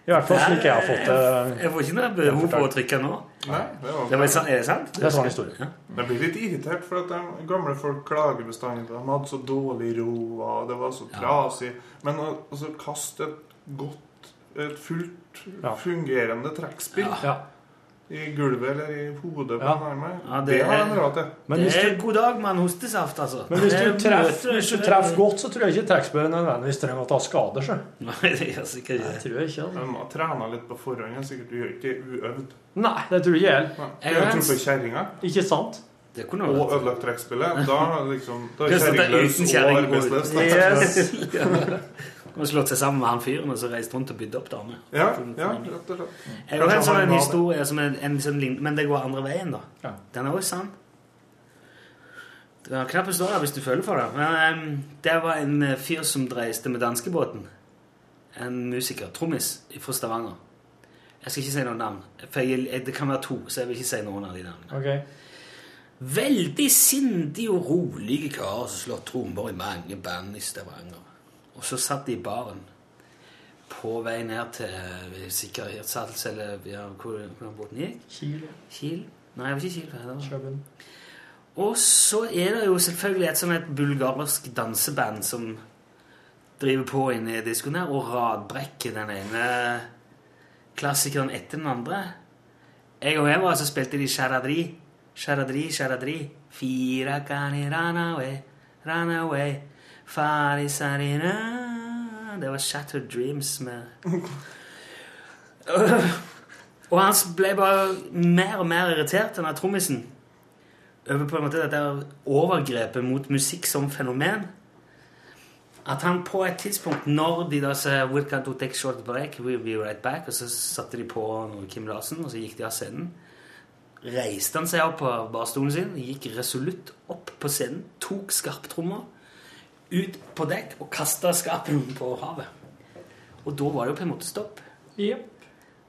I hvert fall slik jeg har fått det. Jeg får ikke noe behov for å trykke nå. Nei, det var Det var, sant- er det sant? Det er sånn historie. Jeg blir litt irritert, for at de gamle folk klager bestandig. De hadde så dårlig råd, og det var så trasig. Men å altså, kaste et godt, et fullt fungerende trekkspill i gulvet eller i hodet på en arm Ja, det, det har er- de råd til. Men det hvis er god dag med en hostesaft, altså. Men hvis du Det er- treffer, Eh, hvis du treffer godt, så tror jeg ikke trekkspillet nødvendigvis trenger å ta skader. Så. Nei, det gjør sikkert ikke Det tror jeg ikke. altså. De har trena litt på forhånd. og Sikkert du gjør ikke det uøvd. Nei, det tror jeg ikke heller. Nei, Du har Jeg- truffet kjerringa Ikke sant? det. kunne og vært- ødelagt trekkspillet. Da er liksom, Det da er er sånn at det er uten kjerringløs og kjerring. arbeidsløs. Yes. Kunne slått seg sammen med han fyren og så reist rundt og bydd opp damer. Sånn- Ja, ja, rett og slett. Jeg har en Kanskje han sånn var- historie som en, en sånn lign- Men det går andre veien, da. Ja. Den er også sann. Det er Knapt står her hvis du føler for det. Men ehm, det var en eh, fyr som reiste med danskebåten. En musiker. Trommis fra Stavanger. Jeg skal ikke si noe navn, for jeg, jeg, det kan være to. så jeg vil ikke si noen av de navnene. Ok. Veldig sindig og rolige karer som slår trommer i mange band i Stavanger. Og så satt de i baren på vei ned til eh, sikkerhetssats, eller ja, hvor, hvor den båten gikk. Kilo, Kiel? Nei, det var ikke Kiel. det var- Kjøben. Og så er det jo selvfølgelig et sånn et bulgarsk danseband som driver på inne i diskoen her, og radbrekker den ene klassikeren etter den andre. Jeg og jeg var så spilte de Sharadri. Sharadri, Sharadri. Fira kani rana away, rana away. Fari sarina. Det var Shattered Dreams med Og han ble bare mer og mer irritert, denne trommisen over på en måte dette her overgrepet mot musikk som fenomen. At han på et tidspunkt, når de da sa «We can do take short break, we'll be right back», og så satte de på noe Kim Larsen, og så gikk de av scenen, reiste han seg opp på barstolen sin, gikk resolutt opp på scenen, tok skarptrommer, ut på dekk og kastet skarpen på havet. Og da var det jo på en måte stopp. Jepp.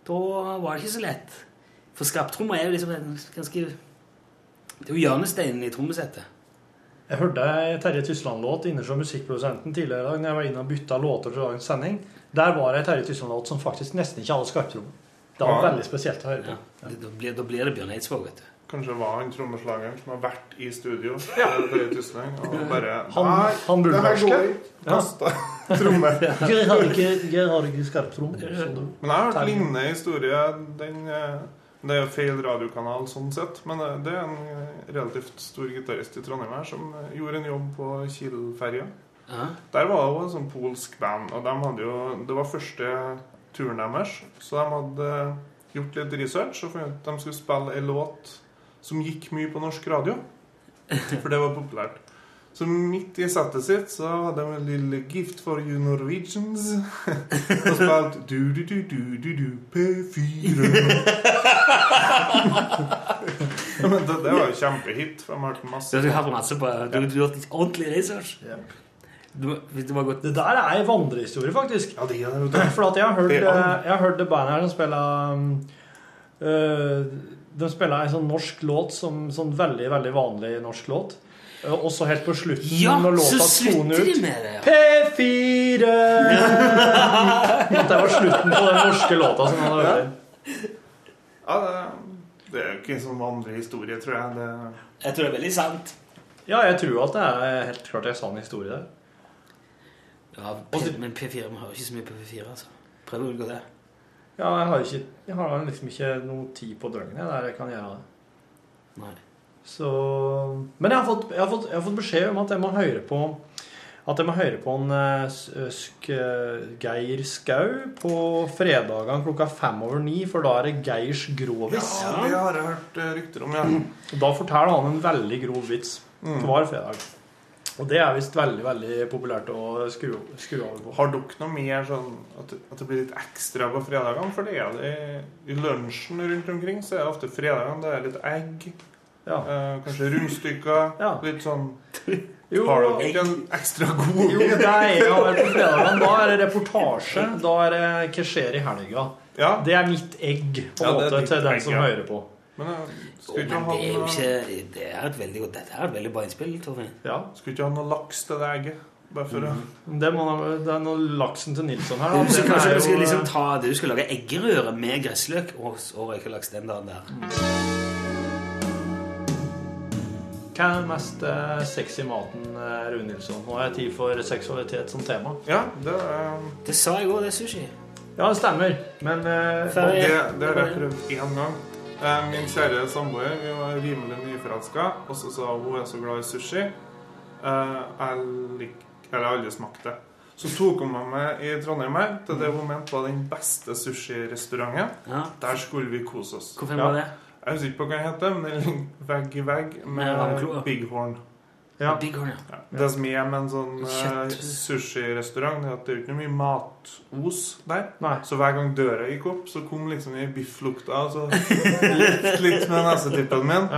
Da var det ikke så lett. For skarptrommer er jo liksom en ganske... Det er jo hjørnesteinen i trommesettet. Jeg hørte ei Terje Tysland-låt inne som musikkprodusenten tidligere i dag når jeg var inne og bytta låter til dagens sending. Der var ei Terje Tysland-låt som faktisk nesten ikke hadde skarptrom. Det var Ja. veldig spesielt å høre på. Det- Da, blir, da blir det Bjørn Eidsvåg, vet du. Kanskje det var han trommeslageren som har vært i studio eh, Terje Tysland, og bare Han, han burde det her vært går ikke. Kasta trommer. Geir har ikke, Geir har ikke skarptrom. Men jeg har hørt lignende historie. Den, eh, det er jo feil radiokanal sånn sett, men eh, det er en eh, relativt stor gitarist i Trondheim her som eh, gjorde en jobb på Kiel-ferja. Ja. Der var det jo en sånn polsk band, og de hadde jo, det var første turen deres. Så de hadde eh, gjort litt research og funnet ut at de skulle spille en låt som gikk mye på norsk radio. For det var populært. Så midt i settet sitt så hadde de en lille gift for you Norwegians. Og spilt du-du-du-du-du-du P4. Ja, Men det, det var jo kjempehit. for De hørte Så masse du har masse på Du du har gjort ordentlig research. Ja. Du, hvis du bare gått Det der er ei vandrehistorie, faktisk. Ja, det er jo det. For at jeg har hørt, Det er han. eh, jeg har hørt det bandet her som spiller um, eh, De spiller en sånn norsk låt som sånn veldig, veldig vanlig norsk låt. Eh, Og så helt på slutten, Ja, når så låta toner slutter de ut med det! ja. P4! At det var slutten på den norske låta som han hadde hørt. Ja, det, det er jo ikke en sånn vandrehistorie, tror jeg. Det Jeg tror det er veldig sant. Ja, jeg tror at det er helt klart en sann historie der. Ja, P, men P4 Vi hører ikke så mye på P4, altså. Prøv å unngå det. Ja, jeg har, ikke, jeg har liksom ikke noe tid på døgnet der jeg kan gjøre det. Nei. Så Men jeg har, fått, jeg, har fått, jeg har fått beskjed om at jeg må høre på At jeg må høre på en eh, s- eh, sk, eh, Geir Skau på fredagene klokka fem over ni, for da er det Geirs grovis. Ja, det har jeg hørt eh, rykter om, ja. Og da forteller han en veldig grov vits Mm. hver fredag. Og det er visst veldig veldig populært å skru, skru over på. Har dere noe mer sånn at, at det blir litt ekstra på fredagene? For det er det i- i lunsjen rundt omkring, så er det ofte fredagene. Det er litt egg, Ja. eh, kanskje rundstykker. Ja. Litt sånn Jo, Har dere ikke en ekstra god jo, det er jeg har vært på fredagene. Da er det reportasje. Da er det hva skjer i helga. Ja, Det er mitt egg på en Ja, det er måte ditt til den egg, som ja. hører på. men eh, Å, skulle ikke men ha det er jo noe, ikke Det er et veldig godt Dette er et veldig bra innspill, Torfinn. Ja. skulle ikke ha noe laks til det egget. Bare for å Det, må, det er noe laksen til Nilsson her. da. Du skal, Den er kanskje, jo- du skal liksom eh, ta Du skal lage eggerøre med gressløk og, og røykelaks den dagen der. Hva er den mest eh, sexy maten, eh, Rune Nilsson? Nå er det tid for seksualitet som tema. Ja, det er um, Det sa jeg òg, det er sushi. Ja, det stemmer. Men eh, Og det, det har jeg prøvd én gang. Eh, Min kjære samboer, vi var rimelig nyforelska, og så sa hun hun er så glad i sushi. Eh, Jeg lik, eller jeg har aldri smakt det. Så tok hun meg med i Trondheim her, til det hun mente var den beste sushirestauranten. Der skulle vi kose oss. Hvorfor var det? Jeg husker ikke på hva den heter, men den ligger vegg i vegg Med med vannklor. Bighorn. Ja. Bighorn, ja. Det som er med en sånn eh, Kjøtt. sushirestaurant, det er at det er jo ikke noe mye matos der. Så hver gang døra gikk opp, så kom liksom den bifflukta og så litt, litt med nesetippen min.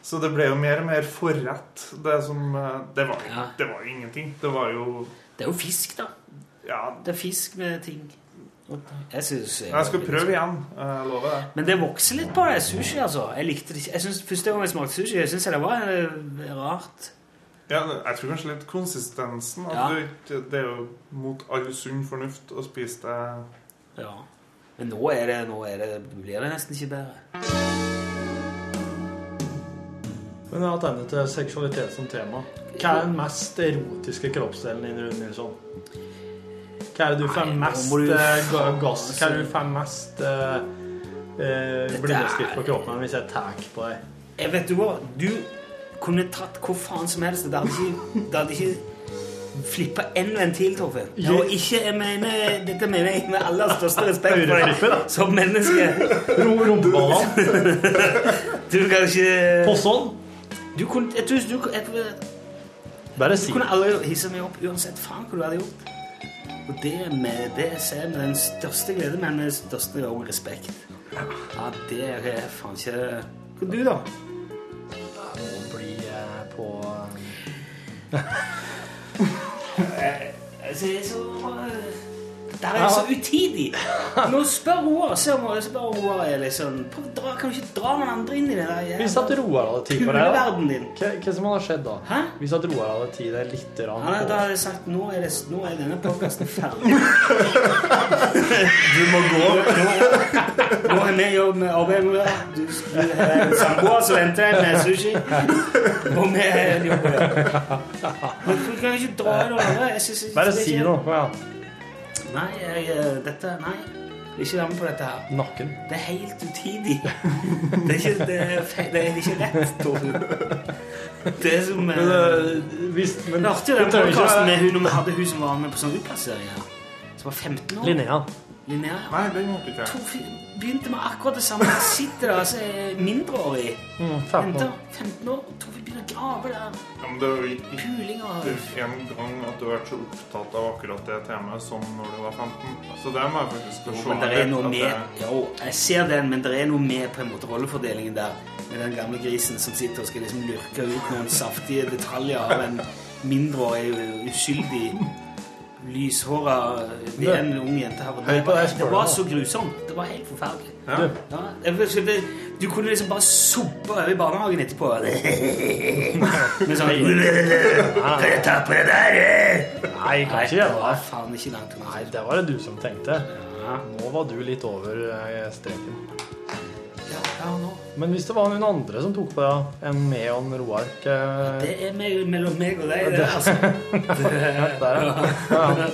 Så det ble jo mer og mer forrett. Det, som, eh, det, var, det var jo ingenting. Det var jo Det er jo fisk, da. Ja. Det er fisk med ting. Jeg, synes, Jeg skal prøve igjen. Jeg lover det. Men det vokser litt på det sushi, altså. Jeg likte det ikke. Jeg synes, første gang jeg smakte sushi, jeg synes jeg det var eh, rart. Ja, jeg tror kanskje litt konsistensen. At Ja. du, ikke- det er jo mot all sunn fornuft å spise det Ja. Men nå er det, nå er det, blir det nesten ikke bedre. Men jeg har tegnet til seksualitet som tema. Hva er den mest erotiske kroppsdelen din, Rune Nilsson? Hva er det du får Nei, nå mest må du eh, ga- faen, gass Hva er altså. det du får mest eh, eh, Dette blindeskritt er- på kroppen hvis jeg tar på deg? Jeg vet du hva, du kunne tatt hvor faen som helst. Det hadde ikke, det hadde ikke flippa én ventil, Torfinn. Ja. Og ikke, jeg mener, dette mener jeg med aller største respekt for Øreflippet, da. deg som menneske. Rumpeballene. Du kan ikke På sånn? Du kunne, jeg tror, du, jeg, Bare Du si kunne aldri hisse meg opp uansett faen hva du hadde gjort. Og det, med, det ser jeg med den største glede, men med den største også respekt. Ja, det er faen ikke Hva du, da? Må bli eh, på Altså, jeg er så Der er jeg så utidig! Nå spør Roar, se om jeg spør Roar er liksom prøv, å dra, Kan du ikke dra noen andre inn i det der? jævla- Hvis at Roar hadde tid for deg, da? Kuleverdenen din. Hva, hva som hadde skjedd da? Hvis at Roar hadde tid deg litt rann Ja, nei, da på hadde jeg sagt nå er, det, nå er denne podkasten ferdig. Du må gå. Nå er vi i jobb med arbeidet med det. Du du har en samboer som venter deg med sushi. Og vi er i jobb. Men du kan ikke dra i noe annet. Jeg synes- Bare det er si ikke- noe. Ja. Nei, jeg, eh, dette Nei. Jeg vil ikke være med på dette her. Nakken. Det er helt utidig. Det er ikke, det er, fe- det er ikke rett, Torfinn. Det er som Men, eh, hvis, men Det er artig, den det trenger ikke podcasten være- med hun, når vi hadde hun som var med på sånn utplassering her. Som var 15 år. Linnea. Linnea. Nei, den hørte ikke jeg. Torfinn begynte med akkurat det samme. Jeg sitter der altså, jeg er mindreårig. Mm, 15 Jenter, år. 15 år. Torfinn begynner å grave der. Ja, men det er jo ikke Puling og- det er en gang at du har vært så opptatt av akkurat det temaet som når du var 15. Så der må jeg faktisk Jo, se men det er litt noe at med Jo, jeg ser den, men det er noe med på en måte rollefordelingen der. Med den gamle grisen som sitter og skal liksom lurke ut noen saftige detaljer av en mindreårig, uskyldig, lyshåra Det er en ung jente her. og Hør Det på var, deg, spør det var du. så grusomt. Det var helt forferdelig. Ja. Ja, jeg vet ikke, det- du kunne liksom bare soppe over i barnehagen etterpå. Med sånn Kan jeg ta på det der? Nei, Nei, kanskje det jeg var faen ikke langt unna. Nei, det var det du som tenkte. Nå var du litt over eh, streken. Men hvis det var noen andre som tok på deg enn meg og en eh, Roar hva- Det er meg, mellom meg og deg, det, Det- altså. Ja, Der, ja. ja. ja.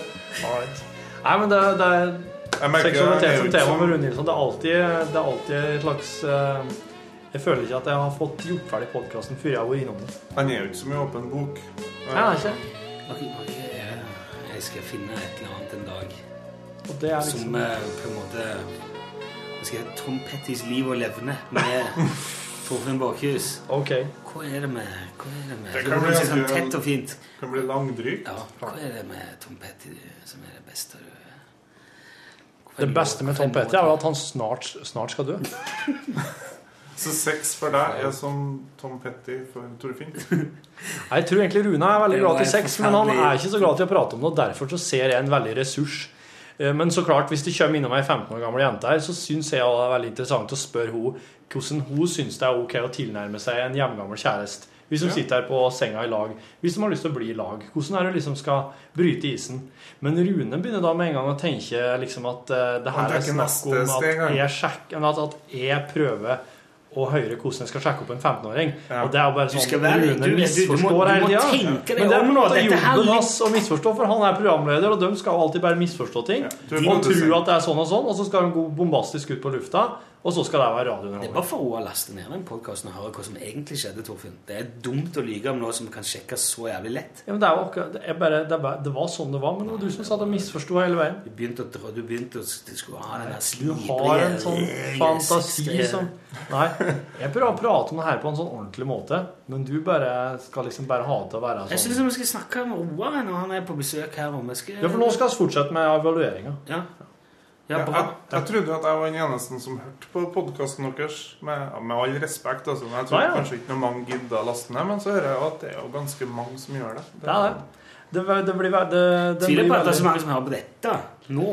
All right. Nei, men det, det er merker jeg er seksualitet jo som ikke tema sånn- med Rune Nilsson. Det er alltid, det er alltid et slags eh, Jeg føler ikke at jeg har fått gjort ferdig podkasten før jeg har vært innom den. Han er jo ikke så mye åpen bok. Nei, han er ikke. Ok, ok, eh, Jeg skal finne et eller annet en dag Og det er liksom som eh, på en måte Jeg skal ha Tom Pettys liv og levne med Torfinn Bakhus. Ok. Hva er det med Hva er det med Det Det kan kan bli bli sånn ganske- tett og fint. Kan bli langdrygt. Ja, hva er det med Tom Petty som er det beste du Det beste med Tom Petty er jo at han snart, snart skal dø. Så sex for deg er som Tom Petty for Torfinn. Nei, Jeg tror egentlig Rune er veldig Det glad var til sex, et men han forferdelig- er ikke så glad til å prate om det. og Derfor så ser jeg en veldig ressurs. Eh, Men så klart, hvis det kommer innom ei 15 år gammel jente her, så syns jeg også det er veldig interessant å spørre henne hvordan hun syns det er ok å tilnærme seg en hjemgammel kjæreste. vi som Ja. sitter her på senga i lag. Vi som har lyst til å bli i lag. Hvordan er det liksom skal bryte isen? Men Rune begynner da med en gang å tenke liksom at eh, det Han her er tenker snakk neste om at steg, han. jeg, sjekk, at, at jeg prøver å høre hvordan jeg skal sjekke opp en 15-åring. Og det er jo bare Du sånn skal være- du- du- Rune du må- misforstår du må hele tida. tenke deg Men det er om på en nå, måte dette her jobben hans å misforstå, for han er programleder, og de skal jo alltid bare misforstå ting. du må og du tro si. at det er sånn og sånn, og så skal de gå bombastisk ut på lufta, og så skal det være Det er radiounderholdning. bare for henne å laste ned den podkasten og høre hva som egentlig skjedde, Torfinn. Det er dumt å lyge om noe som kan sjekkes så jævlig lett. Ja, men det, er jo akkurat, det, er bare, det, er bare, det var sånn det var, men det var du som sa det misforsto hele veien. Du begynte å dra, du begynte å du skulle ha den der Du slibrige har en sånn øh, fantasi sexgreier. som Nei, jeg prøver å prate om det her på en sånn ordentlig måte, men du bare skal liksom bare ha det til å være Jeg sånn. syns vi skal snakke med Roar når han er på besøk her. Og vi skal... Ja, for nå skal vi fortsette med evalueringa. Ja. Jeg, jeg, jeg trodde jo at jeg var den eneste som hørte på podkasten deres. Med, ja, med all respekt, altså. Men Jeg trodde Nei, ja. kanskje ikke noe mange gidda å laste ned, men så hører jeg jo at det er jo ganske mange som gjør det. Det er det. Det, var- det blir ve- det, det Tviler blir på at det er veldig- så mange som hører på dette nå.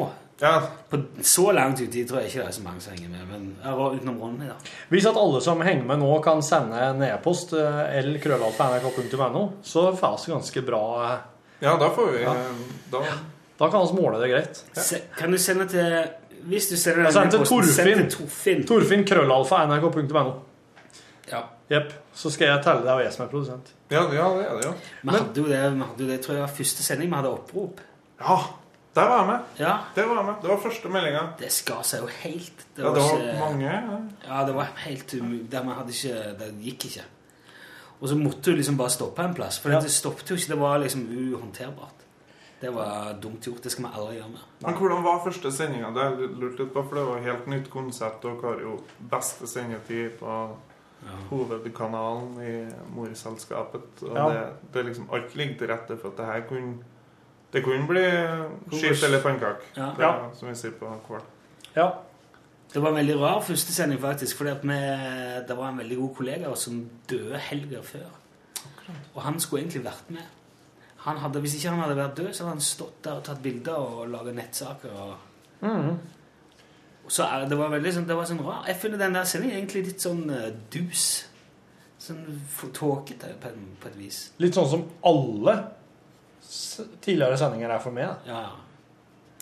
På så langt uti tror jeg ikke det er så mange som henger med. Men jeg var utenom Ronny, da. Hvis at alle som henger med nå, kan sende en e-post eh, lkrøllalfa.nrk.no, så får vi ganske bra eh, Ja, da får vi eh, Ja. Da, da kan vi måle det greit. Se, kan du sende til Hvis du sender Jeg sendte den posten, send Torfinn. til Torfinn. Torfinn krøllalfa nrk.no. Ja. Jepp. Så skal jeg telle deg og jeg som er produsent. Ja, det er det jo. Vi hadde jo det, vi hadde jo det tror jeg var første sending vi hadde opprop. Ja, der var jeg med. Ja. Det var jeg med. Det var første meldinga. Det skar seg jo helt. Ja, det var mange, Ja. ja. det var helt umulig. Det, vi hadde ikke, det gikk ikke. Og så måtte du liksom bare stoppe en plass. For det stoppet jo ikke. Det var liksom uhåndterbart. Det var dumt gjort. Det skal vi aldri gjøre mer. Men hvordan var første sendinga? Det har jeg lurt litt på, for det var et helt nytt konsept. Dere har jo beste sendetid på hovedkanalen i morselskapet. Og Ja. det, det er liksom alt ligger til rette for at det her kunne Det kunne bli skift eller pannekake, Ja. Det er som vi sier på Kval. Det var en veldig rar første sending, faktisk. fordi at vi, det var en veldig god kollega av oss som døde helga før. Og han skulle egentlig vært med. Han hadde, hvis ikke han hadde vært død, så hadde han stått der og tatt bilder og laga nettsaker. Og, Mhm. og så er, det var veldig sånn, det var sånn rar. Jeg finner den der sendingen egentlig litt sånn eh, dus. Sånn f- tåkete på, en- på et vis. Litt sånn som alle s- tidligere sendinger er for meg. da. Ja,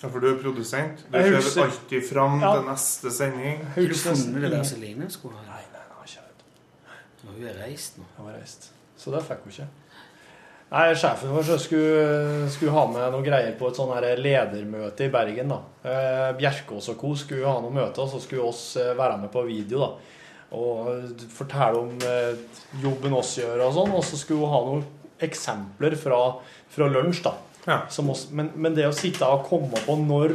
Ja, for du er produsent. Du Jeg ser husker- alltid fram Ja. til neste sending. Har du funnet det der som Celine skulle ha? Nei, nei, nei, ikke vet. Hun er reist nå. Hun er reist. Så det fikk hun ikke. Nei, Sjefen vår så skulle, skulle ha med noen greier på et sånn her ledermøte i Bergen. da. Eh, Bjerkås og co. skulle ha noe møte, og så skulle oss eh, være med på video. da. Og eh, fortelle om eh, jobben oss gjør og sånn. Og så skulle hun ha noen eksempler fra, fra lunsj. da. Som oss, men, men det å sitte og komme på når,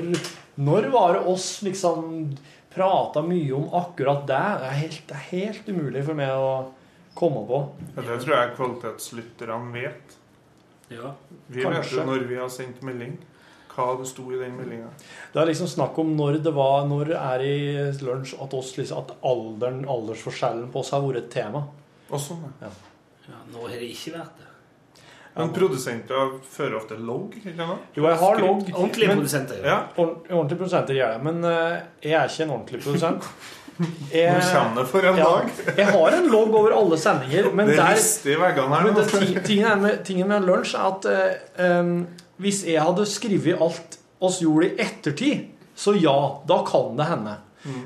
når var det oss liksom prata mye om akkurat det, det er helt, det er helt umulig for meg å komme på. Ja, Det tror jeg kvalitetslytterne vet. Ja. Vi vet Kanskje. jo når vi har sendt melding, hva det sto i den meldinga. Det er liksom snakk om når det var Når er i lunsj at, oss, liksom, at alderen, aldersforskjellen på oss har vært et tema. Og sånn, ja. Ja, nå har det ikke vært det. Men produsenter fører ofte logg, ikke sant? Jo, jeg har logg. men- Ja. Ord- Ordentlige produsenter gjør det. Men eh, jeg er ikke en ordentlig produsent. Nå kommer det for en dag. jeg har en logg over alle sendinger, men det der rister i veggene her Men nå. det, ti- tingen, er med, tingen med lunsj er at eh, em, hvis jeg hadde skrevet alt oss gjorde i ettertid, så ja, da kan det hende.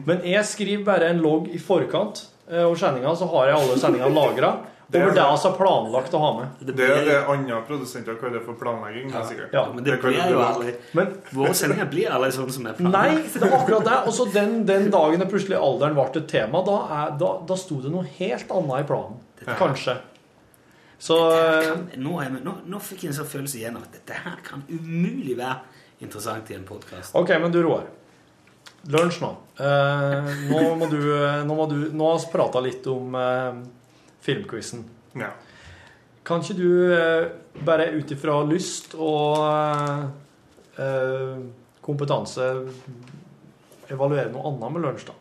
Men jeg skriver bare en logg i forkant eh, over sendinga, så har jeg alle sendingene lagra. Det er Over det. det som er planlagt å ha med. Det er det andre produsenter kaller for planlegging. det er sikkert. Ja, men det kaller blir du jo logg. aldri- Men- Våre sendinger blir aldri sånn som er Nei, det er akkurat det. Og så den, den dagen det plutselig alderen ble et tema, da, er, da, da sto det noe helt annet i planen. Kanskje. Så eh, kan, nå, er jeg, nå, nå fikk jeg en sånn følelse igjen av at dette her kan umulig være interessant i en podkast. Ok, men du Roar. Lunsj nå. Eh, nå må du eh, Nå, må du, nå har vi prata litt om eh, filmquizen. Ja. Kan ikke du eh, bare ut ifra lyst og eh, eh, kompetanse evaluere noe annet med lunsj, da?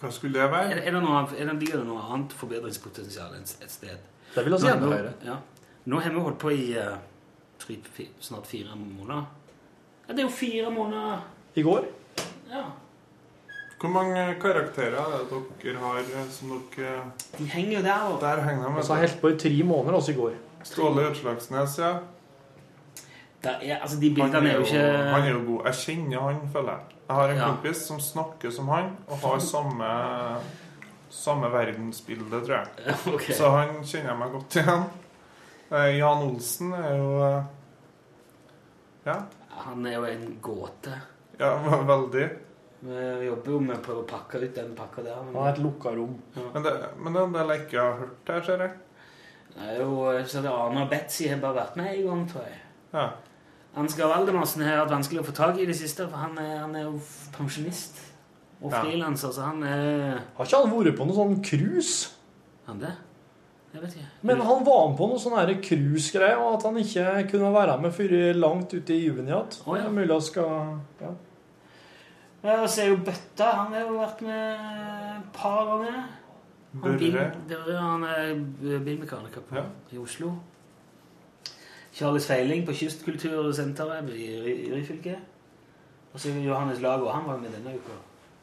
Hva skulle det Er, være? er det noe, er det, ligger det noe annet forbedringspotensial enn et sted? Det vil jeg si Nå har enda vi- høyere. Ja. Nå har vi holdt på i eh, tre, fi- snart fire måneder. Ja, det er jo fire måneder I går? Ja. Hvor mange karakterer er det dere har eh, som dere De henger jo der. Der henger de. Og så har jeg holdt på i tre måneder også i går. Ståle Utslagsnes, ja. altså, de bildene han er jo ikke- Han er jo god. Jeg kjenner han, føler jeg. Jeg har en Ja. kompis som snakker som han, og har samme samme verdensbilde, tror jeg. Ok. Så han kjenner jeg meg godt igjen. Eh, Jan Olsen er jo eh, Ja. Han er jo en gåte. Ja, ve- veldig. Vi jobber jo med å prøve å pakke ut den pakka der. men- Han har et lukka rom. Men det, men det er en del jeg ikke har hørt her, ser jeg. Det er jo, jeg ser det Arne og Betsy har bare vært med en gang, tror jeg. Ja. Ansgar Valdemarsen har vært vanskelig å få tak i i det siste, for han er, han er jo f- pensjonist og Ja. frilanser, så han er Har ikke han vært på noe sånn cruise? Han det? Jeg vet ikke. Men han var med på noe sånn her cruisegreie, og at han ikke kunne være med før langt ute i juni igjen. Det er Mulig han skal ja. Ja, og så er jo Bøtta. Han har jo vært med et par ganger. Han Børre. bil- Børre, han er b- bilmekaniker på, i Oslo. Charles Feiling på Kystkultursenteret i Ry- i Ryfylke. Og så er jo Johannes Lago. Han var jo med denne uka.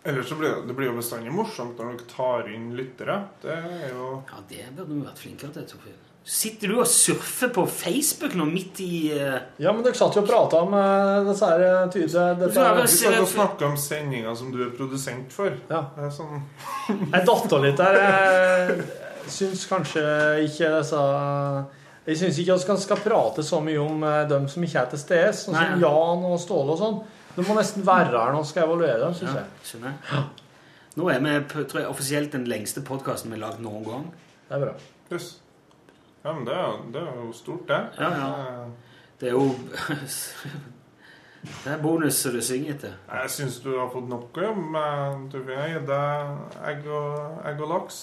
Ellers så blir det, det blir jo bestandig morsomt når dere tar inn lyttere. Det er jo Ja, det burde vi vært flinkere til, Torfinn. Sitter du og surfer på Facebook nå midt i eh, ja, men dere satt jo og prata om eh, disse her tydelige Du dette, satt og snakka om sendinga som du er produsent for. Det er sånn Jeg datta litt der. Jeg syns kanskje ikke disse Jeg syns ikke vi skal prate så mye om eh, dem som ikke er til stede, sånn som Nei. Jan og Ståle og sånn. Du må nesten være her når vi skal evaluere dem, syns ja, jeg. Skjønner jeg. Nå er vi på- tror jeg, offisielt den lengste podkasten vi har lagd noen gang. Det er bra. Pluss. Ja, men det er, jo- det er jo stort, det. Eh, Ja, ja. Det er jo Det er bonus som du synger etter. Jeg syns du har fått nok å jobbe med. Torfinn. Jeg har gitt deg egg og, egg og laks.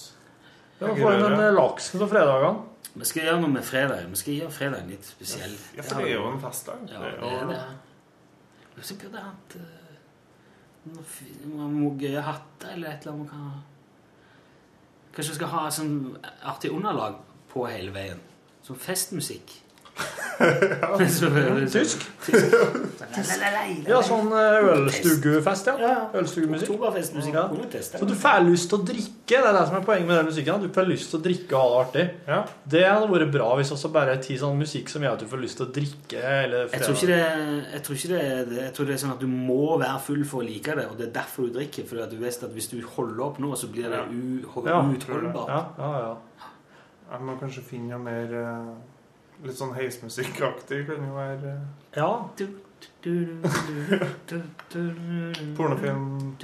Ja, vi får inn en laks på fredagene. Vi skal gjøre noe med fredag. Vi skal gjøre fredagen litt spesiell. Ja, for det er jo en festdag. Ja, Eh, Det er det jo- er det. Men så burde jeg hatt eh, noe fi- noen noe gøye hatter eller et eller annet. man kan ha. Kanskje vi skal ha et sånn artig underlag på hele veien. Som festmusikk. Tysk? Ja, sånn eh, ølstugefest, ja. Ølstugemusikk. Oktoberfestmusikk. Ja. Så du får lyst til å drikke. Det er det som er poenget med den musikken. at Du får lyst til å drikke og ha det artig. Det hadde vært bra hvis også bare ti sånn musikk som gjør at du får lyst til å drikke. Eller Jeg tror, ikke det, jeg, tror ikke det, er det- jeg tror det er sånn at du må være full for å like det, og det er derfor du drikker. For du vet at hvis du holder opp nå, så blir det u, Ja, uutholdbart. tror ja, ja. Jeg må kanskje finne noe mer eh, litt sånn heismusikkaktig. Kan jo være eh, Ja. eh, Pornofilm.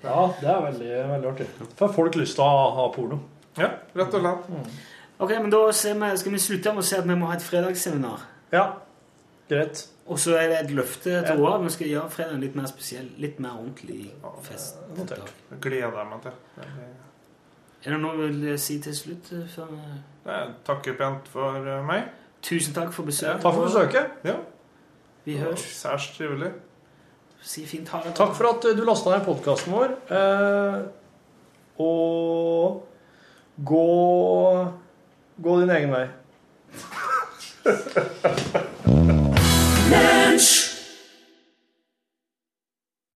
Ja, det er veldig, veldig artig. Får folk lyst til å ha porno. Ja, rett og slett. Ok, men da ser vi, skal vi slutte med å si at vi må ha et fredagsseminar. Ja, greit. Og så er det et løfte Ja. til Roar. Vi skal gjøre fredagen litt mer spesiell, litt mer ordentlig fest. Det gleder jeg meg til. Det blir- Er det noe du vil si til slutt? eh, Før vi... Jeg takker pent for eh, meg. Tusen takk for besøket. Takk for besøket. Vi høres. Særs trivelig. Si fint ha det. Takk for at eh, du lasta ned podkasten vår. Eh, og gå Gå din egen vei.